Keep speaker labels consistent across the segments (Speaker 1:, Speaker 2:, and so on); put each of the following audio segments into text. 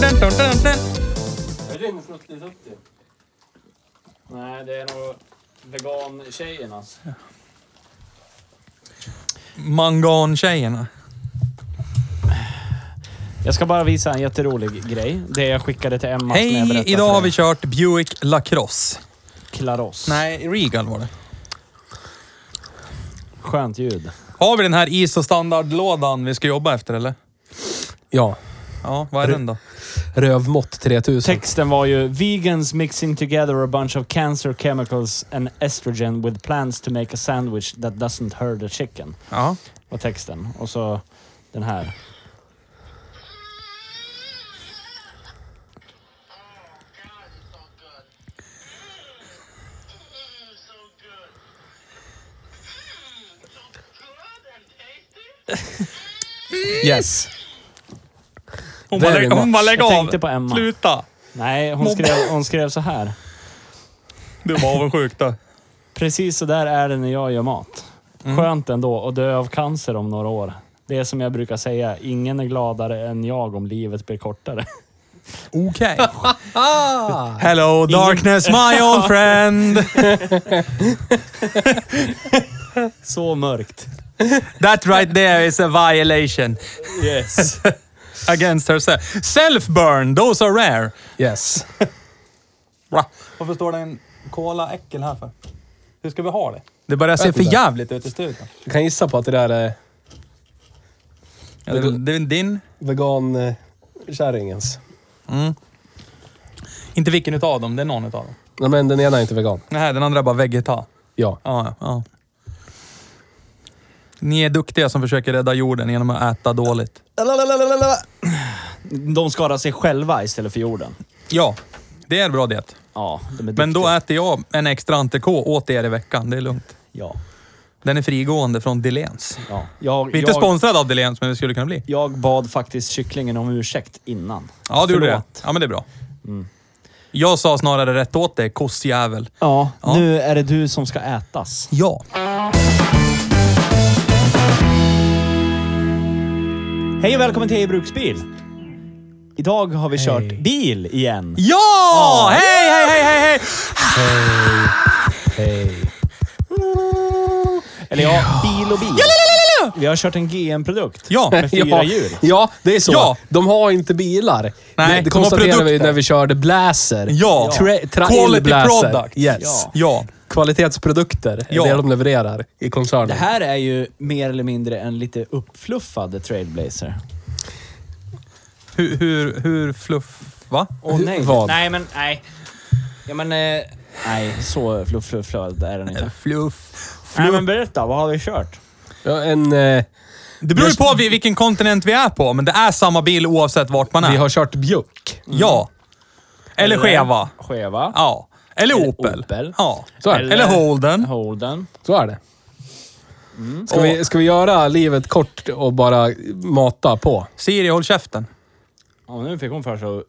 Speaker 1: Dun, dun, dun, dun.
Speaker 2: Är det med fruktligt upp till? Nej, det är nog alltså. vegantjejernas.
Speaker 1: Mangantjejerna.
Speaker 2: Jag ska bara visa en jätterolig grej. Det jag skickade till Emma som jag
Speaker 1: Hej,
Speaker 2: berättade
Speaker 1: idag
Speaker 2: för
Speaker 1: har vi kört Buick Lacrosse.
Speaker 2: Klaros.
Speaker 1: Nej, Regal var det.
Speaker 2: Skönt ljud.
Speaker 1: Har vi den här ISO-standardlådan vi ska jobba efter eller?
Speaker 3: Ja.
Speaker 1: Ja, vad är den då?
Speaker 3: Rövmått 3000.
Speaker 2: Texten var ju “Vegans mixing together a bunch of cancer chemicals and estrogen with plans to make a sandwich that doesn't hurt a chicken”.
Speaker 1: Ja.
Speaker 2: Var texten. Och så den här.
Speaker 3: Yes.
Speaker 1: Hon
Speaker 3: Det
Speaker 1: bara,
Speaker 3: är
Speaker 1: lägg,
Speaker 3: det,
Speaker 1: hon bara lägg
Speaker 2: Jag
Speaker 1: av.
Speaker 2: tänkte på Emma.
Speaker 1: Sluta!
Speaker 2: Nej, hon skrev, hon skrev så här.
Speaker 1: Du var avundsjuk då.
Speaker 2: Precis så där är det när jag gör mat.
Speaker 1: Mm.
Speaker 2: Skönt ändå att dö av cancer om några år. Det är som jag brukar säga, ingen är gladare än jag om livet blir kortare.
Speaker 1: Okej. Hello darkness my old friend.
Speaker 2: Så mörkt.
Speaker 1: That right there is a violation
Speaker 2: Yes.
Speaker 1: against herself. Self-burn, those are rare.
Speaker 3: Yes.
Speaker 1: Varför står det en Cola Äckel här för? Hur ska vi ha det?
Speaker 3: Det börjar se för jävligt
Speaker 1: jävligt ut i studion.
Speaker 3: Jag kan gissa på att det där är
Speaker 1: Ja, det, är väl- det är väl din?
Speaker 3: eh, vegankärringens.
Speaker 1: Inte vilken utav dem, det är någon utav dem.
Speaker 3: Nej men den ena är inte vegan.
Speaker 1: Nej, den andra är bara vegeta.
Speaker 3: Ja.
Speaker 1: Ja, ja, ja. Ni är duktiga som försöker rädda jorden genom att äta dåligt.
Speaker 2: De skadar sig själva istället för jorden.
Speaker 1: Ja, det är en bra det.
Speaker 2: Ja, de är
Speaker 1: Men då
Speaker 2: duktiga.
Speaker 1: äter jag en extra antikå åt er i veckan. Det är lugnt.
Speaker 2: Ja,
Speaker 1: Den är frigående från Dilens.
Speaker 2: ja. Jag,
Speaker 1: Vi är inte
Speaker 2: jag,
Speaker 1: sponsrade av Dilens, men vi skulle kunna bli.
Speaker 2: jag bad faktiskt kycklingen om ursäkt innan.
Speaker 1: Ja, du gjorde det.
Speaker 2: Förlåt.
Speaker 1: Ja, men det är bra. Jag sa snarare rätt åt dig, kossjävel.
Speaker 2: Ja,
Speaker 1: Ja.
Speaker 2: nu är det du som ska ätas.
Speaker 1: Ja.
Speaker 2: Hej och välkommen till Hej Bruksbil! Idag har vi kört bil igen.
Speaker 1: Ja! Hej, hej, hej, hej, hej!
Speaker 3: Hej.
Speaker 2: Eller ja, bil och bil. Vi har kört en GM-produkt.
Speaker 1: Ja,
Speaker 2: Med fyra
Speaker 3: ja.
Speaker 2: hjul.
Speaker 3: Ja, det är så.
Speaker 1: Ja.
Speaker 3: De har inte bilar.
Speaker 1: Nej, de
Speaker 3: det, det
Speaker 1: har
Speaker 3: konstaterade vi
Speaker 1: produkter.
Speaker 3: när vi körde Blazer.
Speaker 1: Ja.
Speaker 3: Tra- trail
Speaker 1: Quality
Speaker 3: Blazer.
Speaker 1: product.
Speaker 3: Yes.
Speaker 2: Ja.
Speaker 1: ja.
Speaker 3: Kvalitetsprodukter
Speaker 1: Ja.
Speaker 3: är det de levererar i koncernen.
Speaker 2: Det här är ju mer eller mindre en lite uppfluffad Trailblazer.
Speaker 1: Hur, hur, hur fluff... Va?
Speaker 2: Åh
Speaker 3: Hur- vad?
Speaker 2: Nej, men nej. Ja, men eh, nej, så fluff, fluff, fluff är den inte.
Speaker 1: Fluff.
Speaker 2: Nej,
Speaker 1: fluff.
Speaker 2: men berätta. Vad har vi kört?
Speaker 3: Ja, en, eh,
Speaker 1: Det beror ju på vi- vilken kontinent vi är på, men det är samma bil oavsett vart man är.
Speaker 3: vi har kört Bjuck.
Speaker 1: Ja. Eller Cheva.
Speaker 2: Cheva.
Speaker 1: Ja. Eller
Speaker 2: Eller
Speaker 1: Opel.
Speaker 2: Opel.
Speaker 1: Ja.
Speaker 3: Så är det.
Speaker 1: Eller, Holden.
Speaker 2: Holden.
Speaker 3: Så är det.
Speaker 1: Mm.
Speaker 3: Ska, vi, ska vi göra livet kort och bara mata på?
Speaker 1: Siri, håll käften.
Speaker 2: Ja, nu fick hon för sig att-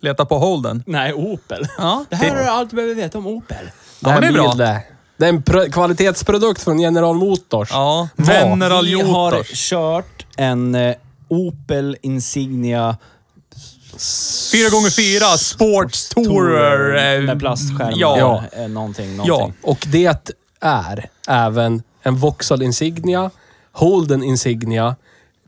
Speaker 1: Leta på Holden.
Speaker 2: Nej, Opel.
Speaker 1: Ja,
Speaker 2: Det här
Speaker 1: det-
Speaker 2: är allt du behöver veta om Opel.
Speaker 3: Det här
Speaker 1: men det är bra.
Speaker 3: blir det. Det är en pro- kvalitetsprodukt från General Motors.
Speaker 1: Ja.
Speaker 3: Vad?
Speaker 1: General
Speaker 2: Vi har
Speaker 1: Motors.
Speaker 2: kört en eh, Opel Insignia
Speaker 1: 4x4 Sports Tourer. eh,
Speaker 2: med plastskärmar.
Speaker 1: Ja.
Speaker 2: Eh, Någonting,
Speaker 1: ja.
Speaker 2: någonting.
Speaker 3: Och det är även en Vauxhall Insignia, Holden Insignia,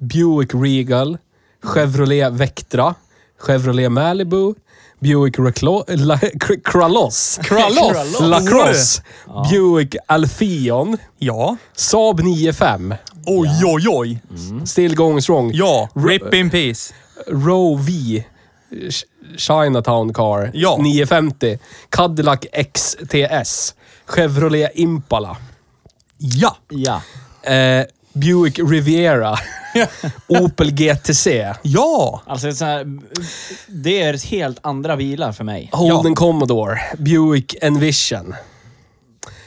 Speaker 3: Buick Regal, Chevrolet Vectra, Chevrolet Malibu, Buick Reclo- La- Cr- Kralos,
Speaker 1: Kralos.
Speaker 3: Lacrosse, Buick Alfion,
Speaker 1: Ja.
Speaker 3: Saab 95,
Speaker 1: Oj, oj, oj.
Speaker 3: Still Going Strong,
Speaker 1: Ja. Rip in peace.
Speaker 3: Roe V, Ch- Chinatown Car,
Speaker 1: Ja.
Speaker 3: 950, Cadillac XTS, Chevrolet Impala,
Speaker 1: Ja.
Speaker 2: Ja.
Speaker 3: eh, Buick Riviera, Opel GTC,
Speaker 1: Ja.
Speaker 2: Alltså, så här, det är helt andra bilar för mig.
Speaker 3: Holden Commodore, Buick Envision,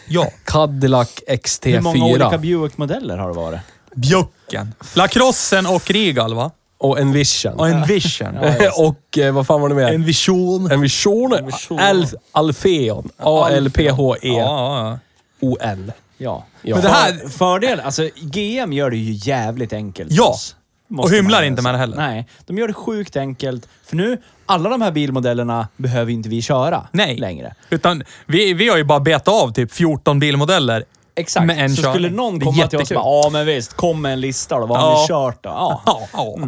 Speaker 1: Ja.
Speaker 3: Cadillac XT4.
Speaker 2: Hur många olika Buick-modeller har det varit?
Speaker 1: Bjucken. Lacrossen och Regal, va?
Speaker 3: och Envision.
Speaker 1: Och en vision.
Speaker 3: och eh, vad fan var det mer?
Speaker 1: vision.
Speaker 3: Envision.
Speaker 2: Envision.
Speaker 3: Alf, Alfeon. A-L-P-H-E-O-N.
Speaker 1: Ja, ja.
Speaker 2: Ja.
Speaker 3: Ja.
Speaker 1: Men det här-
Speaker 2: Fördel, alltså GM gör det ju jävligt enkelt
Speaker 1: Ja.
Speaker 2: för oss. Måste
Speaker 1: Och hymlar
Speaker 2: man
Speaker 1: inte med det heller.
Speaker 2: Nej, de gör det sjukt enkelt. För nu, alla de här bilmodellerna behöver inte vi köra
Speaker 1: Nej.
Speaker 2: längre.
Speaker 1: Utan vi, vi har ju bara betat av typ 14 bilmodeller.
Speaker 2: Exakt.
Speaker 1: Med en
Speaker 2: så
Speaker 1: körning.
Speaker 2: skulle någon
Speaker 1: Det är
Speaker 2: komma till oss och
Speaker 1: jättekul.
Speaker 2: bara, ja men visst, kom med en lista då. Vad har
Speaker 1: Ja.
Speaker 2: ni kört då? Ja.
Speaker 1: Ja. ja.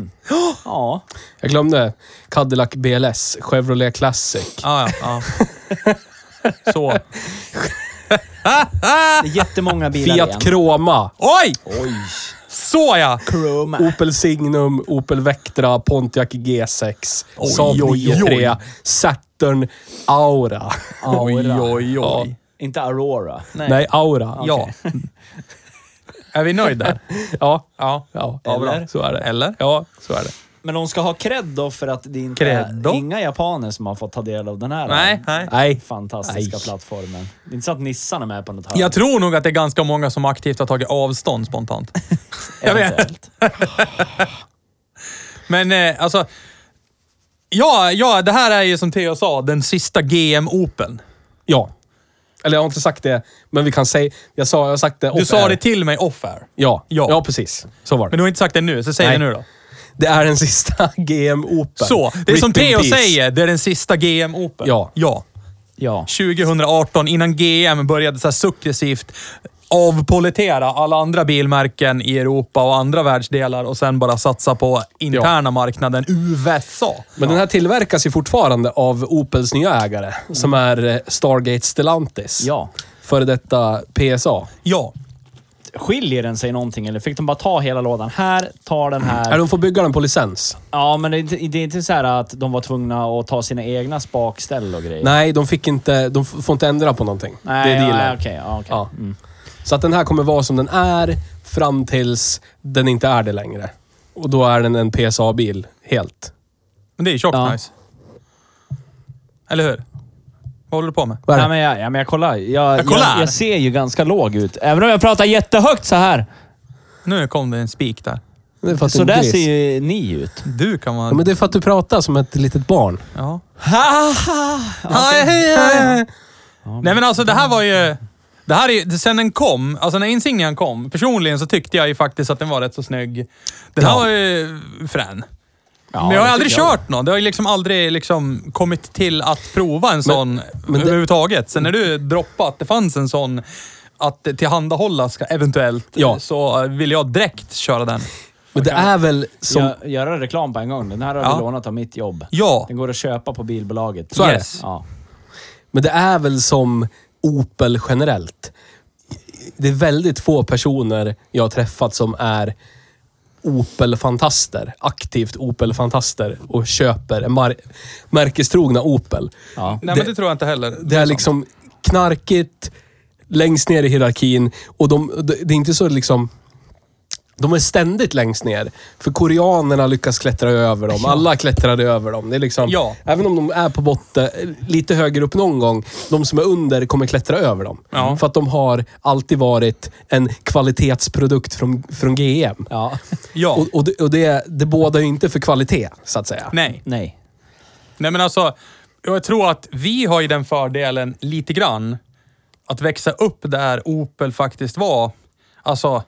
Speaker 2: ja.
Speaker 3: Jag glömde. Cadillac BLS. Chevrolet Classic.
Speaker 1: ja, ja, ja. Så.
Speaker 2: Det är jättemånga bilar igen.
Speaker 3: Fiat Croma.
Speaker 1: Oj!
Speaker 2: Oj.
Speaker 1: Så ja!
Speaker 2: Chroma.
Speaker 3: Opel Signum, Opel Vectra, Pontiac G6,
Speaker 1: Oj,
Speaker 3: Saab
Speaker 1: oj,
Speaker 3: 93,
Speaker 1: oj.
Speaker 3: Saturn Aura.
Speaker 1: Oj, oj, oj.
Speaker 2: Inte Aurora.
Speaker 3: Nej, Aura.
Speaker 1: Ja. Är vi nöjda?
Speaker 3: Ja.
Speaker 1: Ja.
Speaker 3: Ja,
Speaker 1: Ja, bra.
Speaker 2: Eller?
Speaker 3: så är det.
Speaker 1: Eller?
Speaker 3: Ja, så är det.
Speaker 2: Men de ska ha cred då för att det inte
Speaker 1: Cred då?
Speaker 2: är inga japaner som har fått ta del av den här eh,
Speaker 1: Nej, nej.
Speaker 3: Nej.
Speaker 2: fantastiska
Speaker 3: Nej.
Speaker 2: plattformen. Det är inte så att Nissan är med på något hörn.
Speaker 1: Jag tror nog att det är ganska många som aktivt har tagit avstånd spontant. jag vet.
Speaker 2: Eventuellt.
Speaker 1: Men eh, alltså... Ja, ja, det här är ju som Theo sa, den sista GM Open.
Speaker 3: Ja. Eller jag har inte sagt det, men vi kan säga... Jag sa, jag har sagt det
Speaker 1: Du sa
Speaker 3: off-air.
Speaker 1: det till mig off-air.
Speaker 3: Ja,
Speaker 1: Ja.
Speaker 3: ja. precis. Så var det.
Speaker 1: Men du har inte sagt det nu, så säg
Speaker 3: Nej.
Speaker 1: det nu då.
Speaker 3: Det är den sista GM Open.
Speaker 1: Så, det är
Speaker 3: Rip
Speaker 1: som
Speaker 3: in
Speaker 1: Theo
Speaker 3: peace.
Speaker 1: säger, det är den sista GM Open.
Speaker 3: Ja.
Speaker 1: ja.
Speaker 2: Ja.
Speaker 1: 2018, innan GM började så här successivt avpoletera alla andra bilmärken i Europa och andra världsdelar och sen bara satsa på interna marknaden USA.
Speaker 3: Men den här tillverkas ju fortfarande av Opels nya ägare, som
Speaker 1: Mm.
Speaker 3: är eh, Stargate Stellantis.
Speaker 2: ja.
Speaker 3: Före detta PSA.
Speaker 1: Ja.
Speaker 2: Skiljer den sig någonting eller fick de bara ta hela lådan? Här, ta den
Speaker 1: Mm.
Speaker 3: Är
Speaker 2: här.
Speaker 3: de får bygga den på licens?
Speaker 2: Ja, men det är inte, det är inte så här att de var tvungna att ta sina egna spakställ och grejer.
Speaker 3: Nej, de fick inte... De f- får inte ändra på någonting.
Speaker 2: Nej,
Speaker 3: det är dealen.
Speaker 2: ja, okej. Mm. ja, okej.
Speaker 3: Ja. Så att den här kommer vara som den är fram tills den inte är det längre. Och då är den en PSA-bil, helt.
Speaker 1: Men det är ju tjockt
Speaker 2: Ja.
Speaker 1: nice. Eller hur? Vad håller du på med?
Speaker 3: Vad är
Speaker 2: Nej,
Speaker 3: det?
Speaker 2: men jag, ja, men jag kollar. Jag, jag,
Speaker 1: kollar.
Speaker 2: jag, ser ju ganska låg ut. Även om jag pratar jättehögt så här.
Speaker 1: Nu kom det en spik där.
Speaker 3: Det är för att
Speaker 2: Så
Speaker 3: du är en
Speaker 2: där
Speaker 3: gris.
Speaker 2: ser ju ni ut.
Speaker 1: Du kan
Speaker 3: Ja, men
Speaker 1: vara...
Speaker 3: det är för att du pratar som ett litet barn.
Speaker 1: Ja. Aj, aj, aj. Nej men alltså det här var ju... Det här är ju, sen den kom, alltså när Insignian kom, personligen så tyckte jag ju faktiskt att den var rätt så snygg. Den här
Speaker 3: Ja.
Speaker 1: var ju frän.
Speaker 2: Ja,
Speaker 1: men jag har
Speaker 2: det
Speaker 1: aldrig
Speaker 2: tycker jag.
Speaker 1: kört någon. Det har ju liksom aldrig liksom kommit till att prova en sån
Speaker 3: men det-
Speaker 1: överhuvudtaget. Sen när du droppade att det fanns en sån att tillhandahållas ska- eventuellt,
Speaker 3: Ja.
Speaker 1: så vill jag direkt köra den.
Speaker 3: Men det är väl som...
Speaker 2: Gö- göra reklam på en gång. Den här har
Speaker 1: Ja.
Speaker 2: vi lånat av mitt jobb.
Speaker 1: Ja.
Speaker 2: Den går att köpa på bilbolaget.
Speaker 1: Så är det.
Speaker 2: Ja.
Speaker 3: Men det är väl som Opel generellt. Det är väldigt få personer jag har träffat som är Opel-fantaster. Aktivt Opel-fantaster och köper mar- märkestrogna Opel.
Speaker 2: Ja.
Speaker 1: Nej men det tror jag inte heller.
Speaker 3: Det är liksom knarkigt, längst ner i hierarkin och de, det det är inte så liksom... De är ständigt längst ner. För koreanerna lyckas klättra över dem. Alla klättrar över dem. Det är liksom,
Speaker 1: Ja.
Speaker 3: Även om de är på botten, lite högre upp någon gång, de som är under kommer klättra över dem.
Speaker 1: Ja.
Speaker 3: För att de har alltid varit en kvalitetsprodukt från, från GM.
Speaker 2: ja.
Speaker 1: Ja.
Speaker 3: Och, och, det, och det, det bådar ju inte för kvalitet, så att säga.
Speaker 1: Nej.
Speaker 2: Nej.
Speaker 1: Nej men alltså, jag tror att vi har ju den fördelen lite grann att växa upp där Opel faktiskt var. Alltså,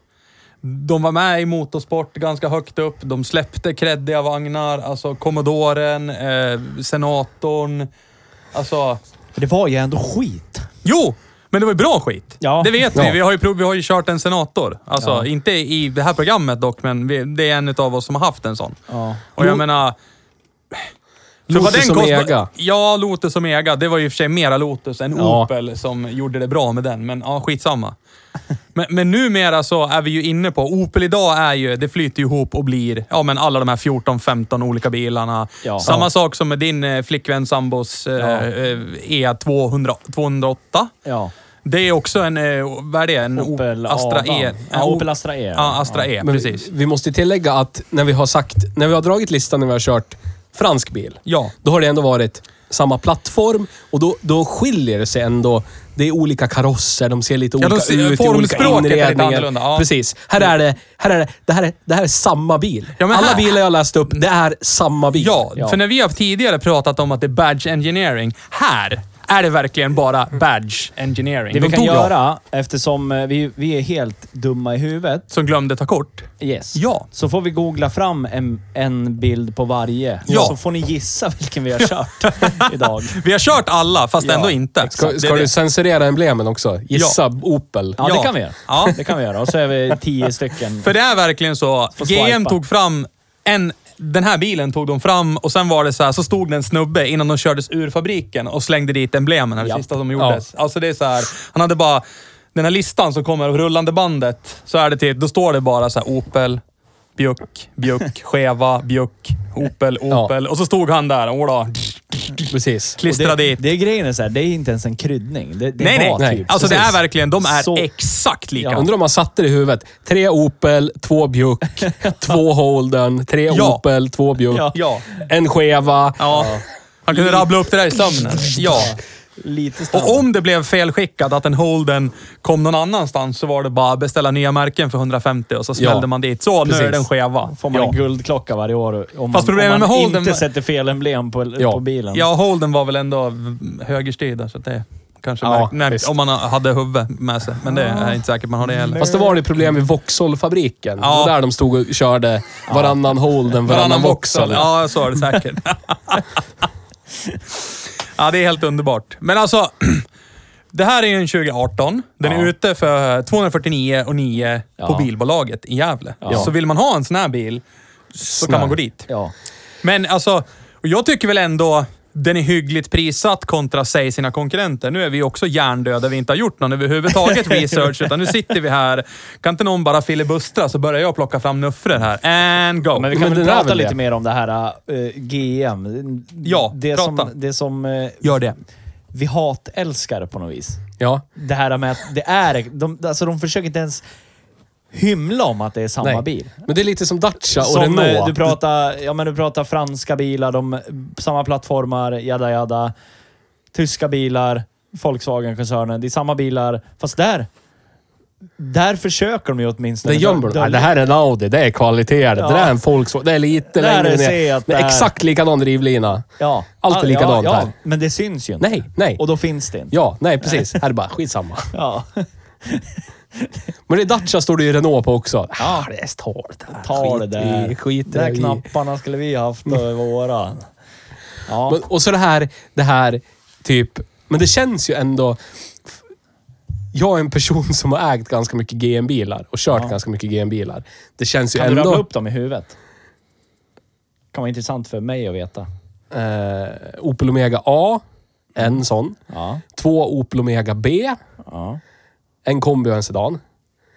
Speaker 1: de var med i motorsport ganska högt upp. De släppte kreddiga vagnar, alltså Commodoren, eh, Senatorn. Alltså,
Speaker 2: Det var ju ändå skit.
Speaker 1: jo! Men det var ju bra skit.
Speaker 2: Ja.
Speaker 1: Det vet vi.
Speaker 3: Ja.
Speaker 1: Vi har, ju prov, vi har ju kört en senator. Alltså, inte i det här programmet dock, men vi, det är en av oss som har haft en sån.
Speaker 2: Ja.
Speaker 1: Och jag
Speaker 3: Jo.
Speaker 1: menar,
Speaker 3: Lotus som
Speaker 1: kostade-
Speaker 3: Ega.
Speaker 1: Ja, Lotus som Ega. Det var ju i och för sig mera Lotus än
Speaker 3: Ja.
Speaker 1: Opel som gjorde det bra med den, men ja, skitsamma. Men, men numera så är vi ju inne på, Opel idag är ju, det flyter ju ihop och blir, ja men alla de här 14-15 olika bilarna.
Speaker 2: Ja.
Speaker 1: Samma sak som med din eh, flickvän sambos eh,
Speaker 2: Ja.
Speaker 1: eh, E200, 208.
Speaker 2: Ja,
Speaker 1: Det är också en, eh, vad är det? En O-
Speaker 2: Opel
Speaker 1: Astra
Speaker 2: Adam.
Speaker 1: E.
Speaker 2: Ja, Opel Astra E.
Speaker 1: Ja, Astra E,
Speaker 3: Men
Speaker 1: precis.
Speaker 3: vi, vi måste tillägga att när vi har sagt, när vi har dragit listan när vi har kört fransk bil,
Speaker 1: Ja.
Speaker 3: då har det ändå varit samma plattform och då, då skiljer det sig ändå. Det är olika karosser, de ser lite
Speaker 1: Ja, de
Speaker 3: olika
Speaker 1: ser-
Speaker 3: ut, det är olika
Speaker 1: formspråket är lite
Speaker 3: inredningar.
Speaker 1: annorlunda, ja.
Speaker 3: Precis. Här är det, här är det, det här är, det här är samma bil.
Speaker 1: Ja, men
Speaker 3: Alla
Speaker 1: här-
Speaker 3: bilar jag läst upp, det är samma bil.
Speaker 1: Ja,
Speaker 2: Ja.
Speaker 1: för när vi har tidigare pratat om att det är badge engineering, här är det verkligen bara badge engineering.
Speaker 2: Det
Speaker 1: De
Speaker 2: vi kan
Speaker 1: tog dem
Speaker 2: göra, eftersom eh, vi, vi är helt dumma i huvudet,
Speaker 1: Som glömde ta kort.
Speaker 2: yes.
Speaker 1: Ja.
Speaker 2: så får vi googla fram en, en bild på varje.
Speaker 1: Ja.
Speaker 2: Så får ni gissa vilken vi har kört idag.
Speaker 1: Vi har kört alla, fast
Speaker 2: Ja,
Speaker 1: ändå inte.
Speaker 3: Ska,
Speaker 1: Det
Speaker 3: ska
Speaker 1: är
Speaker 3: du
Speaker 1: det.
Speaker 3: censurera emblemen också? Gissa Opel.
Speaker 2: Ja,
Speaker 1: Ja.
Speaker 2: det kan vi göra.
Speaker 1: Ja.
Speaker 2: Det kan vi göra. Och så är vi tio stycken.
Speaker 1: För det är verkligen så.
Speaker 2: Får swipa.
Speaker 1: GM tog fram en... Den här bilen tog de fram och sen var det så här, så stod det en snubbe innan de kördes ur fabriken och slängde dit emblemen, här, det
Speaker 2: Japp.
Speaker 1: sista som gjordes. Alltså det är så här, han hade bara... Den här listan som kommer av rullande bandet, så är det till, då står det bara så här Opel, Bjuck, Bjuck, Cheva, Bjuck, Opel, Opel. Och så stod han där, åh då,
Speaker 3: Precis.
Speaker 1: klistrade
Speaker 2: Och det,
Speaker 1: dit.
Speaker 2: det är grejen är så här, det är inte ens en kryddning. Det, det
Speaker 1: nej, nej.
Speaker 2: var
Speaker 1: nej.
Speaker 2: Typ.
Speaker 1: Alltså det är
Speaker 2: Precis.
Speaker 1: verkligen, de är
Speaker 2: Så-
Speaker 1: exakt lika.
Speaker 2: Ja.
Speaker 3: Undrar om man satte det i huvudet. Tre Opel, två Bjuck, två Holden, tre
Speaker 1: Ja.
Speaker 3: Opel, två Bjuck,
Speaker 2: Ja.
Speaker 1: Ja.
Speaker 3: en Cheva.
Speaker 1: Ja. Han kunde rabbla upp det där i sömnen. Ja.
Speaker 2: Lite standard.
Speaker 1: Och om det blev felskickat, att en Holden kom någon annanstans, så var det bara att beställa nya märken för 150 och så smällde
Speaker 3: Ja.
Speaker 1: man dit. Så, nu är
Speaker 3: Precis.
Speaker 1: den skeva.
Speaker 2: får man
Speaker 1: ja.
Speaker 2: en guldklocka varje år om man,
Speaker 1: Fast problemet
Speaker 2: om man
Speaker 1: med Holden
Speaker 2: inte
Speaker 1: var-
Speaker 2: sätter fel emblem på,
Speaker 3: Ja.
Speaker 2: på bilen.
Speaker 1: ja, Holden var väl ändå v- högerstyrda, så att det kanske
Speaker 3: Ja,
Speaker 1: märk- nej,
Speaker 3: visst.
Speaker 1: Om man hade huvud med sig, men det är jag inte säkert man har det heller.
Speaker 3: Fast det var det problem i Vauxhall-fabriken.
Speaker 1: Ja.
Speaker 3: Det var där de stod och körde varannan Holden, varannan Vauxhall.
Speaker 1: Ja, så är det säkert. ja, det är helt underbart. Men alltså, det här är ju en 2018. Den är
Speaker 2: Ja.
Speaker 1: ute för 249 och 9 på
Speaker 2: Ja.
Speaker 1: bilbolaget i Gävle.
Speaker 2: Ja.
Speaker 1: Så vill man ha en sån här bil så
Speaker 3: Sån
Speaker 1: kan
Speaker 3: här.
Speaker 1: man gå dit.
Speaker 2: Ja.
Speaker 1: Men alltså, och jag tycker väl ändå den är hyggligt prissatt kontra sig sina konkurrenter. Nu är vi också hjärndöda. Vi inte har gjort någon överhuvudtaget research, utan nu sitter vi här. Kan inte någon bara filibustra så börjar jag plocka fram nuffror här. And go!
Speaker 2: Men vi kan
Speaker 3: Men
Speaker 2: väl
Speaker 3: den är
Speaker 2: prata
Speaker 3: väl
Speaker 2: lite
Speaker 3: det.
Speaker 2: mer om det här eh, GM.
Speaker 1: Ja,
Speaker 2: det
Speaker 1: prata.
Speaker 2: som, det som eh,
Speaker 1: Gör det.
Speaker 2: vi hatälskar på något vis.
Speaker 3: Ja.
Speaker 2: Det här med att det är... De, alltså de försöker inte ens hymla om att det är samma
Speaker 3: Nej.
Speaker 2: bil.
Speaker 3: Men det är lite som Dacia och
Speaker 2: Som eh,
Speaker 3: Renault.
Speaker 2: du pratar, ja, men du pratar franska bilar, de, samma plattformar, jada jada. Tyska bilar, Volkswagen-koncernen. Det är samma bilar, fast där... Där försöker de ju åtminstone.
Speaker 3: det gömmer du.
Speaker 2: dölja-
Speaker 3: Nej, Det här är en Audi, det är kvalitet. Det
Speaker 2: Ja.
Speaker 3: där är en Volkswagen. Det är lite
Speaker 2: Där
Speaker 3: längre
Speaker 2: ser
Speaker 3: ner.
Speaker 2: jag att
Speaker 3: Men
Speaker 2: det är-
Speaker 3: exakt likadan drivlina.
Speaker 2: Ja.
Speaker 3: Allt är
Speaker 2: Ja,
Speaker 3: likadant
Speaker 2: ja,
Speaker 3: här.
Speaker 2: Ja, men det syns ju inte.
Speaker 3: Nej, nej.
Speaker 2: Och då finns det inte.
Speaker 3: Ja, nej precis. Här är det bara skitsamma.
Speaker 2: Ja.
Speaker 3: Men i Dacia står det ju Renault på också. Ah, det är stort.
Speaker 2: Ta det där.
Speaker 3: I, skit
Speaker 2: där
Speaker 3: i.
Speaker 2: knapparna skulle vi haft över våran. Ja.
Speaker 3: Men, och så det här, det här typ... Men det känns ju ändå... Jag är en person som har ägt ganska mycket GM-bilar och kört ganska mycket GM-bilar. Det känns ju
Speaker 2: Kan du
Speaker 3: ändå...
Speaker 2: rabbla upp dem i huvudet? Kan vara intressant för mig att veta.
Speaker 3: eh, Opel Omega A, en sån.
Speaker 2: Mm. Ja.
Speaker 3: Två Opel Omega B,
Speaker 2: ja.
Speaker 3: en kombi och en sedan.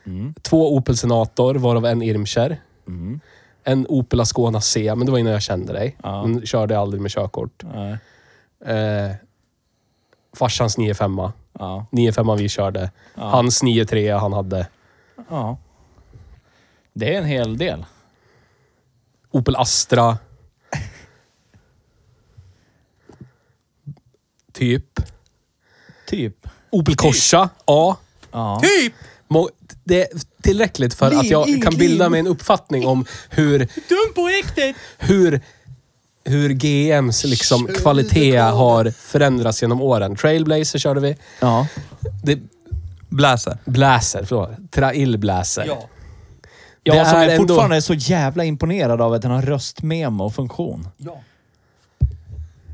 Speaker 2: Mm.
Speaker 3: Två Opel Senator, varav en Irmscher. En Opel Ascona C, men det var innan jag kände dig.
Speaker 2: Ja.
Speaker 3: Den körde jag aldrig med körkort.
Speaker 2: Nej.
Speaker 3: Eh, farsans 95
Speaker 2: Ja.
Speaker 3: 95 vi körde. Hans 93 han hade.
Speaker 2: ja. Det är en hel del.
Speaker 3: Opel Astra. typ.
Speaker 2: Typ.
Speaker 3: Opel Corsa A.
Speaker 2: Ja.
Speaker 1: Typ!
Speaker 3: Må- Det är tillräckligt för att jag kan bilda mig en uppfattning om hur,
Speaker 1: Dum på riktigt!
Speaker 3: hur, hur GMs liksom kvalitet har förändrats genom åren. Trailblazer körde vi.
Speaker 2: ja.
Speaker 3: Det,
Speaker 1: Bläser.
Speaker 3: Blazer, förlåt. Trail Blazer.
Speaker 1: Ja.
Speaker 2: Jag
Speaker 3: Det
Speaker 2: som
Speaker 3: är
Speaker 2: är
Speaker 3: ändå-
Speaker 2: fortfarande är så jävla imponerad av att den har röstmemo-funktion.
Speaker 1: ja.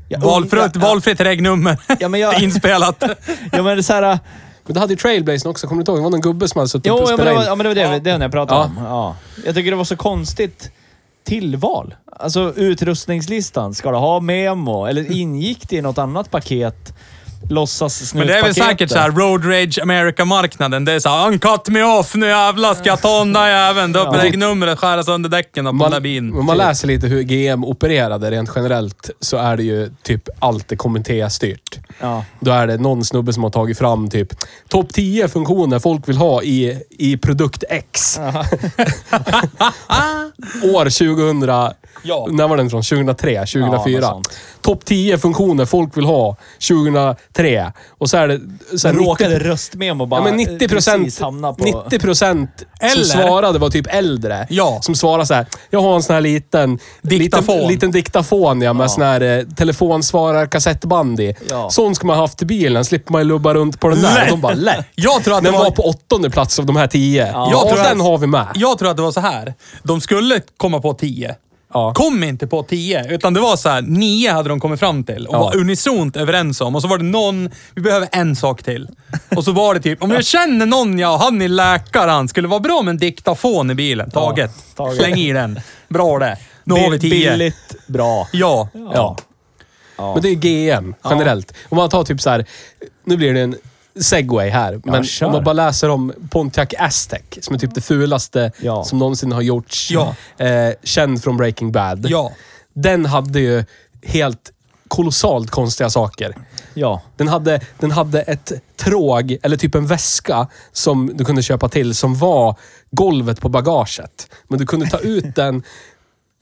Speaker 2: Jag-
Speaker 1: Valfritt,
Speaker 2: Ja,
Speaker 1: valfritt regnummer.
Speaker 2: Ja, men jag-
Speaker 1: Inspelat.
Speaker 2: Ja, men det är så här...
Speaker 3: Men det hade ju Trailblazern också, kommer du inte ihåg? Det var någon gubbe som hade suttit
Speaker 2: Jo,
Speaker 3: och
Speaker 2: ja, men
Speaker 3: spelat
Speaker 2: det var,
Speaker 3: in.
Speaker 2: ja, men det, var det, det var det jag pratade
Speaker 3: Ja.
Speaker 2: om. Ja. Jag tycker det var så konstigt tillval. Alltså utrustningslistan. Ska du ha memo? Eller ingick det i något annat paket? Låtsas
Speaker 1: Men det är väl säkert så här Road Rage America-marknaden. Det är så här, han cut me off, nu jävlar ska jag ta den där jäveln. Dubbdäcknumret, skära sönder däcken och på den där bilen.
Speaker 3: om man läser lite hur GM opererade rent generellt så är det ju typ allt är kommittéstyrt.
Speaker 2: Ja.
Speaker 3: Då är det någon snubbe som har tagit fram typ topp 10 funktioner folk vill ha i, i produkt X. År 2000.
Speaker 1: Ja.
Speaker 3: När var den från? 2003? 2004?
Speaker 2: Ja, något sånt.
Speaker 3: topp 10 funktioner folk vill ha 2003. Och så är det... Så här,
Speaker 2: Råkade
Speaker 3: 90
Speaker 2: röstmemo bara
Speaker 3: Ja, men 90
Speaker 2: precis
Speaker 3: procent,
Speaker 2: hamna på...
Speaker 3: 90 procent som
Speaker 1: Eller?
Speaker 3: svarade var typ äldre.
Speaker 1: Ja.
Speaker 3: Som svarade så här. jag har en sån här liten...
Speaker 1: Diktafon.
Speaker 3: Liten, liten diktafon ja, med
Speaker 2: Ja.
Speaker 3: sån här eh, telefonsvarar kassettband i.
Speaker 2: Ja.
Speaker 3: Sån ska man ha haft i bilen, slipper man ju lubba runt på den där.
Speaker 1: Lätt.
Speaker 3: Och de bara, lätt.
Speaker 1: Jag tror att det
Speaker 3: Den var...
Speaker 1: var-
Speaker 3: på åttonde plats av de här tio. Ja,
Speaker 1: Jag
Speaker 3: och
Speaker 1: tror
Speaker 3: den
Speaker 1: att-
Speaker 3: har vi med.
Speaker 1: Jag tror att det var så här. De skulle komma på 10.
Speaker 3: Ja.
Speaker 1: Kom inte på 10, utan det var så här, 9 hade de kommit fram till och
Speaker 3: Ja.
Speaker 1: var unisont överens om. Och så var det någon, vi behöver en sak till. Och så var det typ, om jag känner någon, ja, han är läkare, han skulle vara bra med en diktafon i bilen. Taget.
Speaker 2: taget.
Speaker 1: Släng i den. Bra det. Nu har vi 10.
Speaker 2: Billigt, bra.
Speaker 1: Ja.
Speaker 3: Ja. Men det är GM generellt. Om man tar typ så här, nu blir det en segway här, men
Speaker 2: kör.
Speaker 3: om man bara läser om Pontiac Aztec, som är typ det fulaste
Speaker 2: Ja.
Speaker 3: som någonsin har gjorts.
Speaker 1: Ja.
Speaker 3: Eh, känd från Breaking Bad.
Speaker 1: Ja.
Speaker 3: Den hade ju helt kolossalt konstiga saker.
Speaker 2: Ja.
Speaker 3: Den hade, den hade ett tråg, eller typ en väska, som du kunde köpa till som var golvet på bagaget. Men du kunde ta ut den.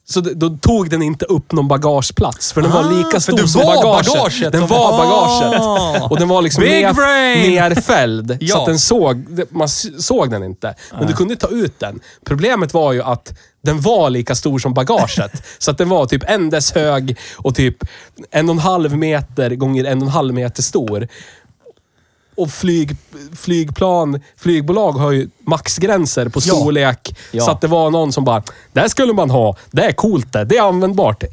Speaker 3: Så d- då tog den inte upp någon bagageplats, för den var lika stor
Speaker 1: det
Speaker 3: som
Speaker 1: Ah, var
Speaker 3: bagaget.
Speaker 1: bagaget
Speaker 3: Den
Speaker 1: som-
Speaker 3: var
Speaker 1: Ah.
Speaker 3: bagaget. Och den var liksom
Speaker 1: Big
Speaker 3: nerf-
Speaker 1: brain!
Speaker 3: nerfälld.
Speaker 1: Ja. Ah.
Speaker 3: Så att den såg, man s- såg den inte. Men du kunde ta ut den. Problemet var ju att den var lika stor som bagaget. så att den var typ en dess hög och typ en och en halv meter gånger en och en halv meter stor. Och flyg, flygplan, flygbolag har ju maxgränser på
Speaker 2: Ja.
Speaker 3: storlek.
Speaker 2: Ja.
Speaker 3: Så att det var någon som bara, det här skulle man ha. Det är coolt det. Det är användbart.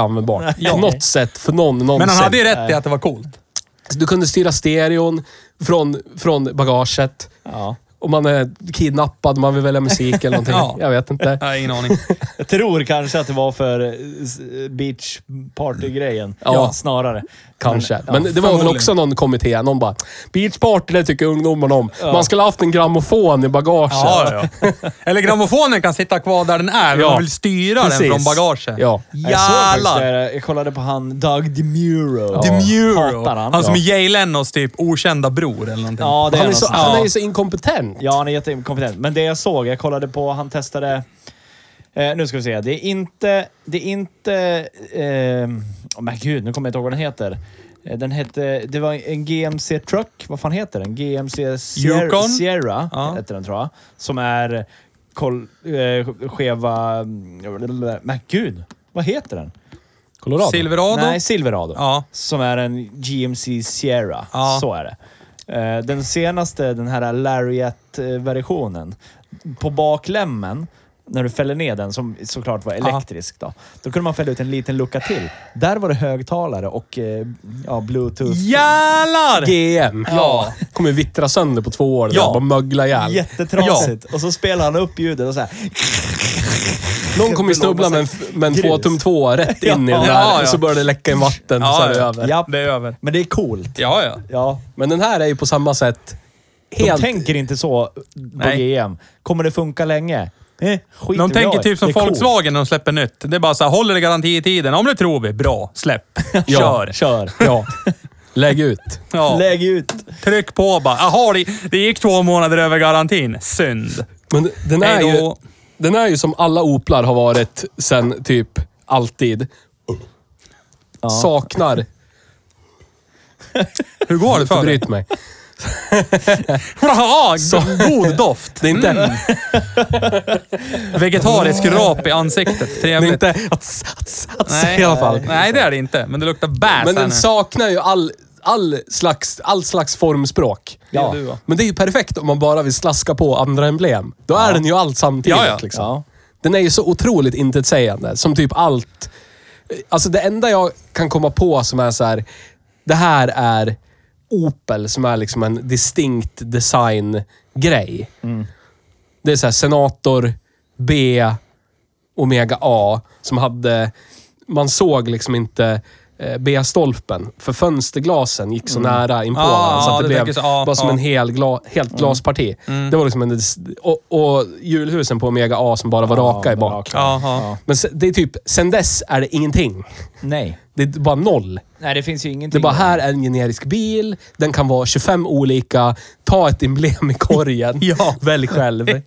Speaker 3: användbart.
Speaker 2: Ja.
Speaker 3: På något sätt för någon någonsin.
Speaker 1: Men han hade ju rätt i att det var coolt.
Speaker 3: Så Alltså, Du kunde styra stereon från, från bagaget.
Speaker 2: ja.
Speaker 3: Om man är kidnappad, man vill välja musik eller någonting.
Speaker 1: Ja.
Speaker 3: Jag vet inte.
Speaker 1: Nej, ingen aning.
Speaker 2: Jag tror kanske att det var för eh, s- beach party-grejen.
Speaker 3: Ja.
Speaker 2: Snarare.
Speaker 3: Kanske.
Speaker 2: ja,
Speaker 3: Men, det var väl
Speaker 1: förmodligen.
Speaker 3: också någon kommitté. Någon bara, beach party, det tycker ungdomarna om. Man skulle ha haft en grammofon i bagaget.
Speaker 1: Ja, ja. Eller grammofonen kan sitta kvar där den är, men
Speaker 3: Ja.
Speaker 1: man vill styra den
Speaker 3: Precis.
Speaker 1: från bagaget.
Speaker 3: Ja.
Speaker 2: Jag såg faktiskt
Speaker 1: Jävlar!
Speaker 2: det. Jag kollade på han Doug DeMuro.
Speaker 1: The Muro.
Speaker 2: Hatar
Speaker 1: Han,
Speaker 2: han.
Speaker 1: som är
Speaker 2: ja.
Speaker 1: Jay Lenos typ okända bror eller någonting.
Speaker 2: Ja, det är
Speaker 3: han, är
Speaker 2: något
Speaker 3: så,
Speaker 2: sånt.
Speaker 3: han är
Speaker 2: Ja.
Speaker 3: ju så inkompetent.
Speaker 2: Ja, han är jättekompetent. Men det jag såg, jag kollade på, han testade... Eh, nu ska vi se. Det är inte... Det är inte... Eh, oh, men gud, nu kommer jag inte ihåg vad den heter. Eh, Den hette... Det var en GMC Truck. Vad fan heter den? GMC Sierra,
Speaker 1: Yukon?
Speaker 2: Sierra
Speaker 1: Ja.
Speaker 2: heter den tror jag. Som är kol, eh, skeva... Men gud, vad heter den?
Speaker 3: Colorado.
Speaker 1: Silverado?
Speaker 2: Nej, Silverado.
Speaker 1: Ja.
Speaker 2: Som är en GMC Sierra.
Speaker 1: Ja.
Speaker 2: Så är det. Eh, Den senaste, den här Lariat-versionen. På baklämmen, när du fäller ner den, som såklart var elektrisk då. Då kunde man fälla ut en liten lucka till. Där var det högtalare och eh, ja, bluetooth.
Speaker 1: Jävlar!
Speaker 3: GM.
Speaker 1: Ja.
Speaker 3: Kommer vittra sönder på två år.
Speaker 1: Ja.
Speaker 3: Bara mögla ihjäl.
Speaker 2: Jättetrasigt. Och så spelar han upp ljudet och så här.
Speaker 3: Någon kommer ju snubbla med en, med en
Speaker 2: Grus.
Speaker 3: två tum två rätt in i
Speaker 2: Ja.
Speaker 3: den där.
Speaker 1: Ja,
Speaker 3: Och
Speaker 1: ja.
Speaker 3: så börjar det läcka in vatten. och så är det över.
Speaker 2: Ja.
Speaker 1: Det är över.
Speaker 2: Men det är coolt.
Speaker 1: Ja, ja.
Speaker 2: Ja.
Speaker 3: Men den här är ju på samma sätt
Speaker 2: De
Speaker 3: helt...
Speaker 2: tänker inte så på
Speaker 1: Nej.
Speaker 2: GM. Kommer det funka länge? Eh, skiter
Speaker 1: De
Speaker 2: vi
Speaker 1: tänker
Speaker 2: i.
Speaker 1: typ som
Speaker 2: Det är coolt.
Speaker 1: Volkswagen när de släpper nytt. Det är bara så här, håller det garantitiden? Om det tror vi, bra. Släpp.
Speaker 3: Ja.
Speaker 1: Kör.
Speaker 2: Kör.
Speaker 3: Ja. Lägg ut.
Speaker 1: Ja.
Speaker 2: Lägg ut.
Speaker 1: Tryck på bara. Jaha, det, det gick två månader över garantin. Synd.
Speaker 3: Men den är,
Speaker 1: Hej
Speaker 3: ju,
Speaker 1: då.
Speaker 3: den är ju som alla Oplar har varit sen typ alltid. Saknar...
Speaker 1: Hur går det för dig?
Speaker 3: Förbryt mig.
Speaker 1: Bra! God doft.
Speaker 3: Det är inte,
Speaker 1: Vegetarisk rap i ansiktet.
Speaker 3: det är
Speaker 1: Trevligt.
Speaker 3: inte att, att, att, i alla fall.
Speaker 1: Nej, det är det inte. Men det luktar bäs
Speaker 3: Men
Speaker 1: här
Speaker 3: den
Speaker 1: nu.
Speaker 3: saknar ju all, all, slags, all slags formspråk.
Speaker 2: Ja.
Speaker 1: du då?
Speaker 3: Men det är ju perfekt om man bara vill slaska på andra emblem. Då är den ju allt samtidigt.
Speaker 1: Ja, ja.
Speaker 3: Liksom.
Speaker 2: Ja.
Speaker 3: Den är ju så otroligt intetsägande. Som typ allt... Alltså det enda jag kan komma på som är så här. Det här är Opel som är liksom en distinkt
Speaker 1: Mm.
Speaker 3: design-grej. Det är så här Senator B Omega A som hade... Man såg liksom inte eh, B-stolpen, för fönsterglasen gick så nära inpå
Speaker 1: Ah,
Speaker 3: varandra så att
Speaker 1: du
Speaker 3: det blev
Speaker 1: tänker så, ah,
Speaker 3: bara som
Speaker 1: ah.
Speaker 3: en hel gla, helt
Speaker 2: Mm.
Speaker 3: glasparti. Det var liksom en, och, och julhusen på Omega A som bara var raka i
Speaker 2: bara
Speaker 3: bak.
Speaker 2: raka.
Speaker 1: Jaha.
Speaker 3: Men se- det är typ, sen dess är det ingenting.
Speaker 2: Nej.
Speaker 3: Det är bara noll.
Speaker 2: Nej, det finns ju ingenting.
Speaker 3: Det är bara, här är en generisk bil. Den kan vara 25 olika. Ta ett emblem i korgen.
Speaker 1: Ja.
Speaker 3: Välj själv.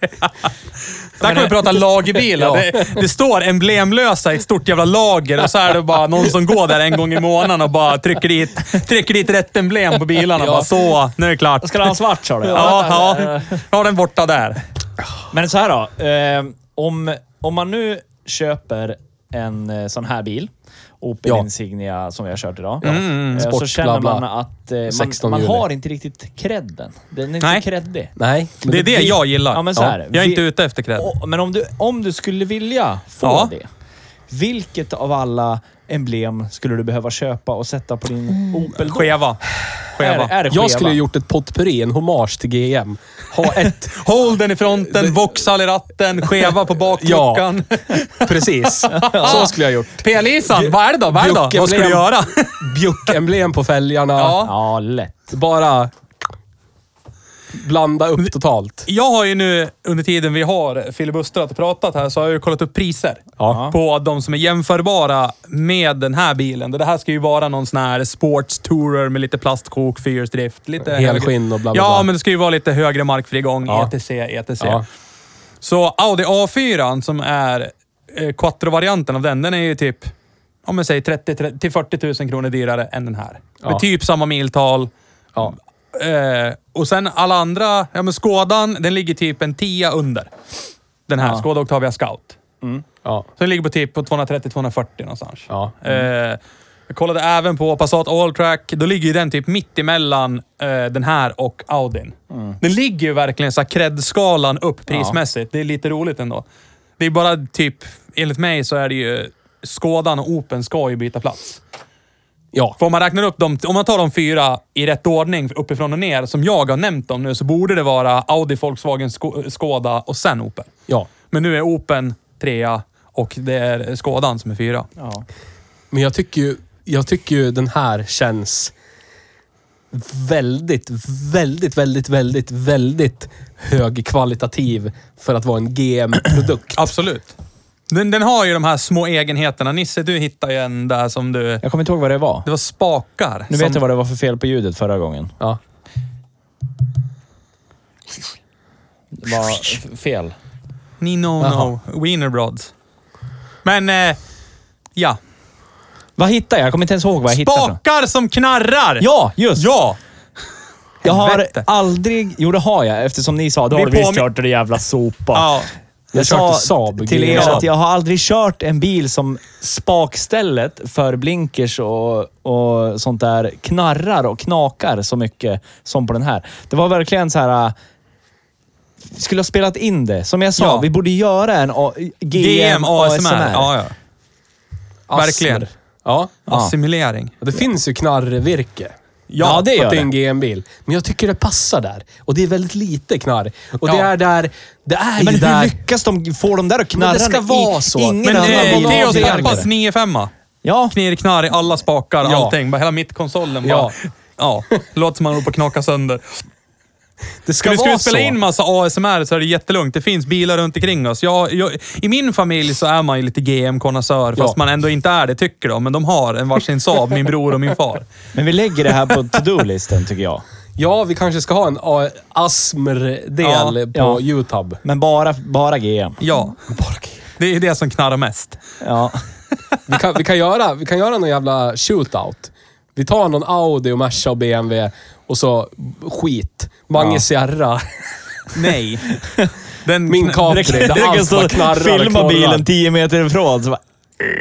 Speaker 1: Där
Speaker 2: eh,
Speaker 1: kan vi prata lagerbilar.
Speaker 3: Ja.
Speaker 1: Det, det står emblemlösa i ett stort jävla lager och så är det bara någon som går där en gång i månaden och bara trycker dit, trycker dit rätt emblem på bilarna. Bara så, nu är det klart.
Speaker 2: Ska du ha en svart sa du?
Speaker 1: Ja, ja. Jag har den borta där.
Speaker 2: Men så här då. Eh, om, om man nu köper en eh, sån här bil, Opel
Speaker 3: Ja. Mm,
Speaker 2: Insignia som vi har kört idag. eh,
Speaker 3: Sport,
Speaker 2: så känner
Speaker 3: bla,
Speaker 2: man
Speaker 3: bla.
Speaker 2: att eh, man,
Speaker 3: 16
Speaker 2: man
Speaker 3: juli.
Speaker 2: har inte riktigt credden. Den är inte
Speaker 1: Nej.
Speaker 2: creddig.
Speaker 3: Nej. men
Speaker 1: Det är det jag gillar.
Speaker 2: Ja, men så här.
Speaker 1: Jag är
Speaker 2: Vi-
Speaker 1: inte ute efter cred.
Speaker 2: Och- Men om du, om du skulle vilja få
Speaker 1: Ja.
Speaker 2: det, vilket av alla emblem skulle du behöva köpa och sätta på
Speaker 3: Mm.
Speaker 2: din Opel? då?
Speaker 1: Skeva.
Speaker 2: Är,
Speaker 1: Skeva.
Speaker 2: är det skeva?
Speaker 3: Jag skulle ju gjort ett potpurri, en hommage till GM. Ha ett...
Speaker 1: Håll den i fronten, Vauxhall i ratten, skeva på bakluckan.
Speaker 3: Precis. Så skulle jag gjort.
Speaker 1: P-Lisan, vad är det då? Vad är det då?
Speaker 3: Bjucke
Speaker 1: Vad ska du
Speaker 3: blev-
Speaker 1: göra?
Speaker 3: Bjuckenblem på fälgarna.
Speaker 1: Ja.
Speaker 2: Ja, lätt.
Speaker 3: Bara blanda upp totalt.
Speaker 1: Jag har ju nu, under tiden vi har filibustrat och pratat här, så har jag ju kollat upp priser.
Speaker 3: Ja.
Speaker 1: På de som är jämförbara med den här bilen. Det här ska ju vara någon sån här sportstourer med lite plastkok, fyrhjulsdrift. Lite
Speaker 3: Helskinn och bla, bla,
Speaker 1: Ja,
Speaker 3: bla.
Speaker 1: men det ska ju vara lite högre markfrigång, E
Speaker 3: Ja.
Speaker 1: etc, etc.
Speaker 3: Ja.
Speaker 1: Så Audi A4 som är eh, quattro-varianten av den, den är ju typ om man säger 30 30 till 40 000 kronor dyrare än den här.
Speaker 3: Ja.
Speaker 1: Med typ samma miltal.
Speaker 3: Ja.
Speaker 1: Eh, och sen alla andra, ja men Skådan, den ligger typ en 10 under. Den här, Skåda Octavia Scout.
Speaker 3: Ja.
Speaker 1: Så den ligger på typ på 230-240 någonstans.
Speaker 3: Ja.
Speaker 1: Eh, jag kollade även på Passat Alltrack. Då ligger ju den typ mitt emellan eh, den här och Audin. Den ligger ju verkligen så här cred-skalan upp prismässigt. Det är lite roligt ändå. Det är bara typ, enligt mig så är det ju Skådan och Open ska ju byta plats.
Speaker 3: ja.
Speaker 1: För om man räknar upp dem, om man tar de fyra i rätt ordning uppifrån och ner, som jag har nämnt dem nu, så borde det vara Audi, Volkswagen, Sk- Skoda och sen Opel.
Speaker 3: ja.
Speaker 1: Men nu är Open trea och det är Skådan som är fyra.
Speaker 2: Ja.
Speaker 3: Men jag tycker ju, jag tycker ju den här känns väldigt, väldigt, väldigt, väldigt, väldigt högkvalitativ för att vara en GM-produkt.
Speaker 1: Absolut. Den, den har ju de här små egenheterna. Nisse, du hittade ju en där som du...
Speaker 2: Jag kommer inte ihåg vad det var.
Speaker 1: Det var spakar.
Speaker 2: Nu
Speaker 1: som,
Speaker 2: vet jag vad det var för fel på ljudet förra gången.
Speaker 3: Ja.
Speaker 2: Det var f- fel.
Speaker 1: Nino, no.
Speaker 3: Jaha.
Speaker 1: Wienerbrods. Men, eh, ja.
Speaker 2: Vad hittade jag? Jag kommer inte ens ihåg vad jag hittade. för något.
Speaker 1: Spakar som knarrar!
Speaker 2: Ja, just!
Speaker 1: Ja!
Speaker 2: jag har
Speaker 1: helvete.
Speaker 2: aldrig... Jo, det har jag. Eftersom ni sa det
Speaker 1: Vi
Speaker 2: har du visst
Speaker 1: påmin-
Speaker 2: kört det jävla sopa.
Speaker 1: ja.
Speaker 2: Jag sa
Speaker 3: körde Saab
Speaker 2: till er
Speaker 3: GM.
Speaker 2: att jag har aldrig kört en bil som spakstället för blinkers och, och sånt där knarrar och knakar så mycket som på den här. Det var verkligen så här... äh, Vi skulle ha spelat in det. Som jag sa,
Speaker 1: Ja.
Speaker 2: vi borde göra en A-
Speaker 1: GM,
Speaker 2: GM
Speaker 1: ASMR.
Speaker 2: ASMR.
Speaker 1: Ja, ja. Verkligen.
Speaker 3: Ja.
Speaker 1: Assimilering.
Speaker 3: Och Det finns ju knarrvirke.
Speaker 2: Ja, det
Speaker 3: för
Speaker 2: gör
Speaker 3: att det. är
Speaker 2: det.
Speaker 3: en GM-bil. Men jag tycker det passar där. Och det är väldigt lite knarr. Och det
Speaker 1: Ja.
Speaker 3: är där... Det är
Speaker 2: Men
Speaker 3: ju
Speaker 2: hur
Speaker 3: där...
Speaker 2: lyckas de få de där att knarra?
Speaker 3: Men det ska
Speaker 2: när
Speaker 3: vara så.
Speaker 2: Ingen
Speaker 1: Men
Speaker 2: annan
Speaker 1: eh,
Speaker 2: bil-
Speaker 1: Leos
Speaker 2: bil-
Speaker 1: pappas 95
Speaker 2: Ja,
Speaker 1: Knirknarr i alla spakar,
Speaker 3: Ja.
Speaker 1: allting. Bara hela mittkonsolen bara...
Speaker 3: Ja.
Speaker 1: Ja. Låter som man håller på att knaka sönder.
Speaker 3: Det
Speaker 1: Ska
Speaker 3: ska
Speaker 1: vi skulle
Speaker 3: vara
Speaker 1: spela
Speaker 3: så.
Speaker 1: in massa ASMR så är det jättelugnt. Det finns bilar runt omkring oss. Jag, jag, I min familj så är man ju lite GM-konnässör,
Speaker 3: Ja.
Speaker 1: fast man ändå inte är det tycker de. Men de har en varsin Saab, min bror och min far.
Speaker 2: men vi lägger det här på to-do-listen tycker jag.
Speaker 3: Ja, vi kanske ska ha en A- ASMR-del
Speaker 1: Ja,
Speaker 3: på
Speaker 2: ja.
Speaker 3: YouTube.
Speaker 2: Men bara, bara GM.
Speaker 1: Ja, det är det som knarrar mest.
Speaker 2: Ja.
Speaker 3: Vi kan, vi kan, göra, vi kan göra någon jävla shootout. Vi tar någon Audi och Merca och BMW och så skit. Mange
Speaker 2: Ja.
Speaker 3: Sierra.
Speaker 1: Nej. Den,
Speaker 3: Min Capri.
Speaker 2: Det
Speaker 3: Där
Speaker 2: räcker
Speaker 3: allt bara knarrar
Speaker 2: så
Speaker 3: och
Speaker 2: filma
Speaker 3: knorrar.
Speaker 2: bilen 10 meter ifrån. Så bara,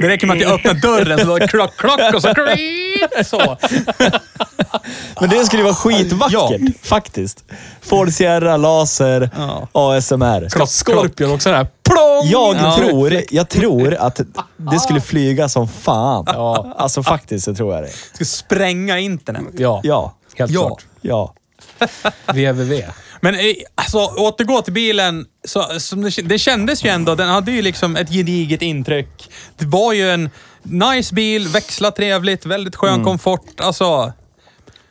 Speaker 1: det räcker med att jag öppnar dörren så då klock, klock och så kriiit, så.
Speaker 2: men det skulle ju vara skitvackert
Speaker 1: Ja.
Speaker 2: Ah, faktiskt. Ford Sierra, laser,
Speaker 1: Ja.
Speaker 2: ASMR.
Speaker 3: Klock, Scorpion också där. Plong!
Speaker 2: Jag,
Speaker 1: Ja.
Speaker 2: tror, jag tror att det skulle flyga som fan.
Speaker 3: Ja.
Speaker 2: Alltså faktiskt så tror jag det.
Speaker 1: Ska spränga internet.
Speaker 3: Ja,
Speaker 2: Ja.
Speaker 3: helt
Speaker 1: Ja.
Speaker 3: klart.
Speaker 2: Ja.
Speaker 3: VVV.
Speaker 1: Men eh, alltså, återgå till bilen. Så, som det, det kändes ju ändå, den hade ju liksom ett gediget intryck. Det var ju en nice bil, växla trevligt, väldigt skön komfort. Alltså,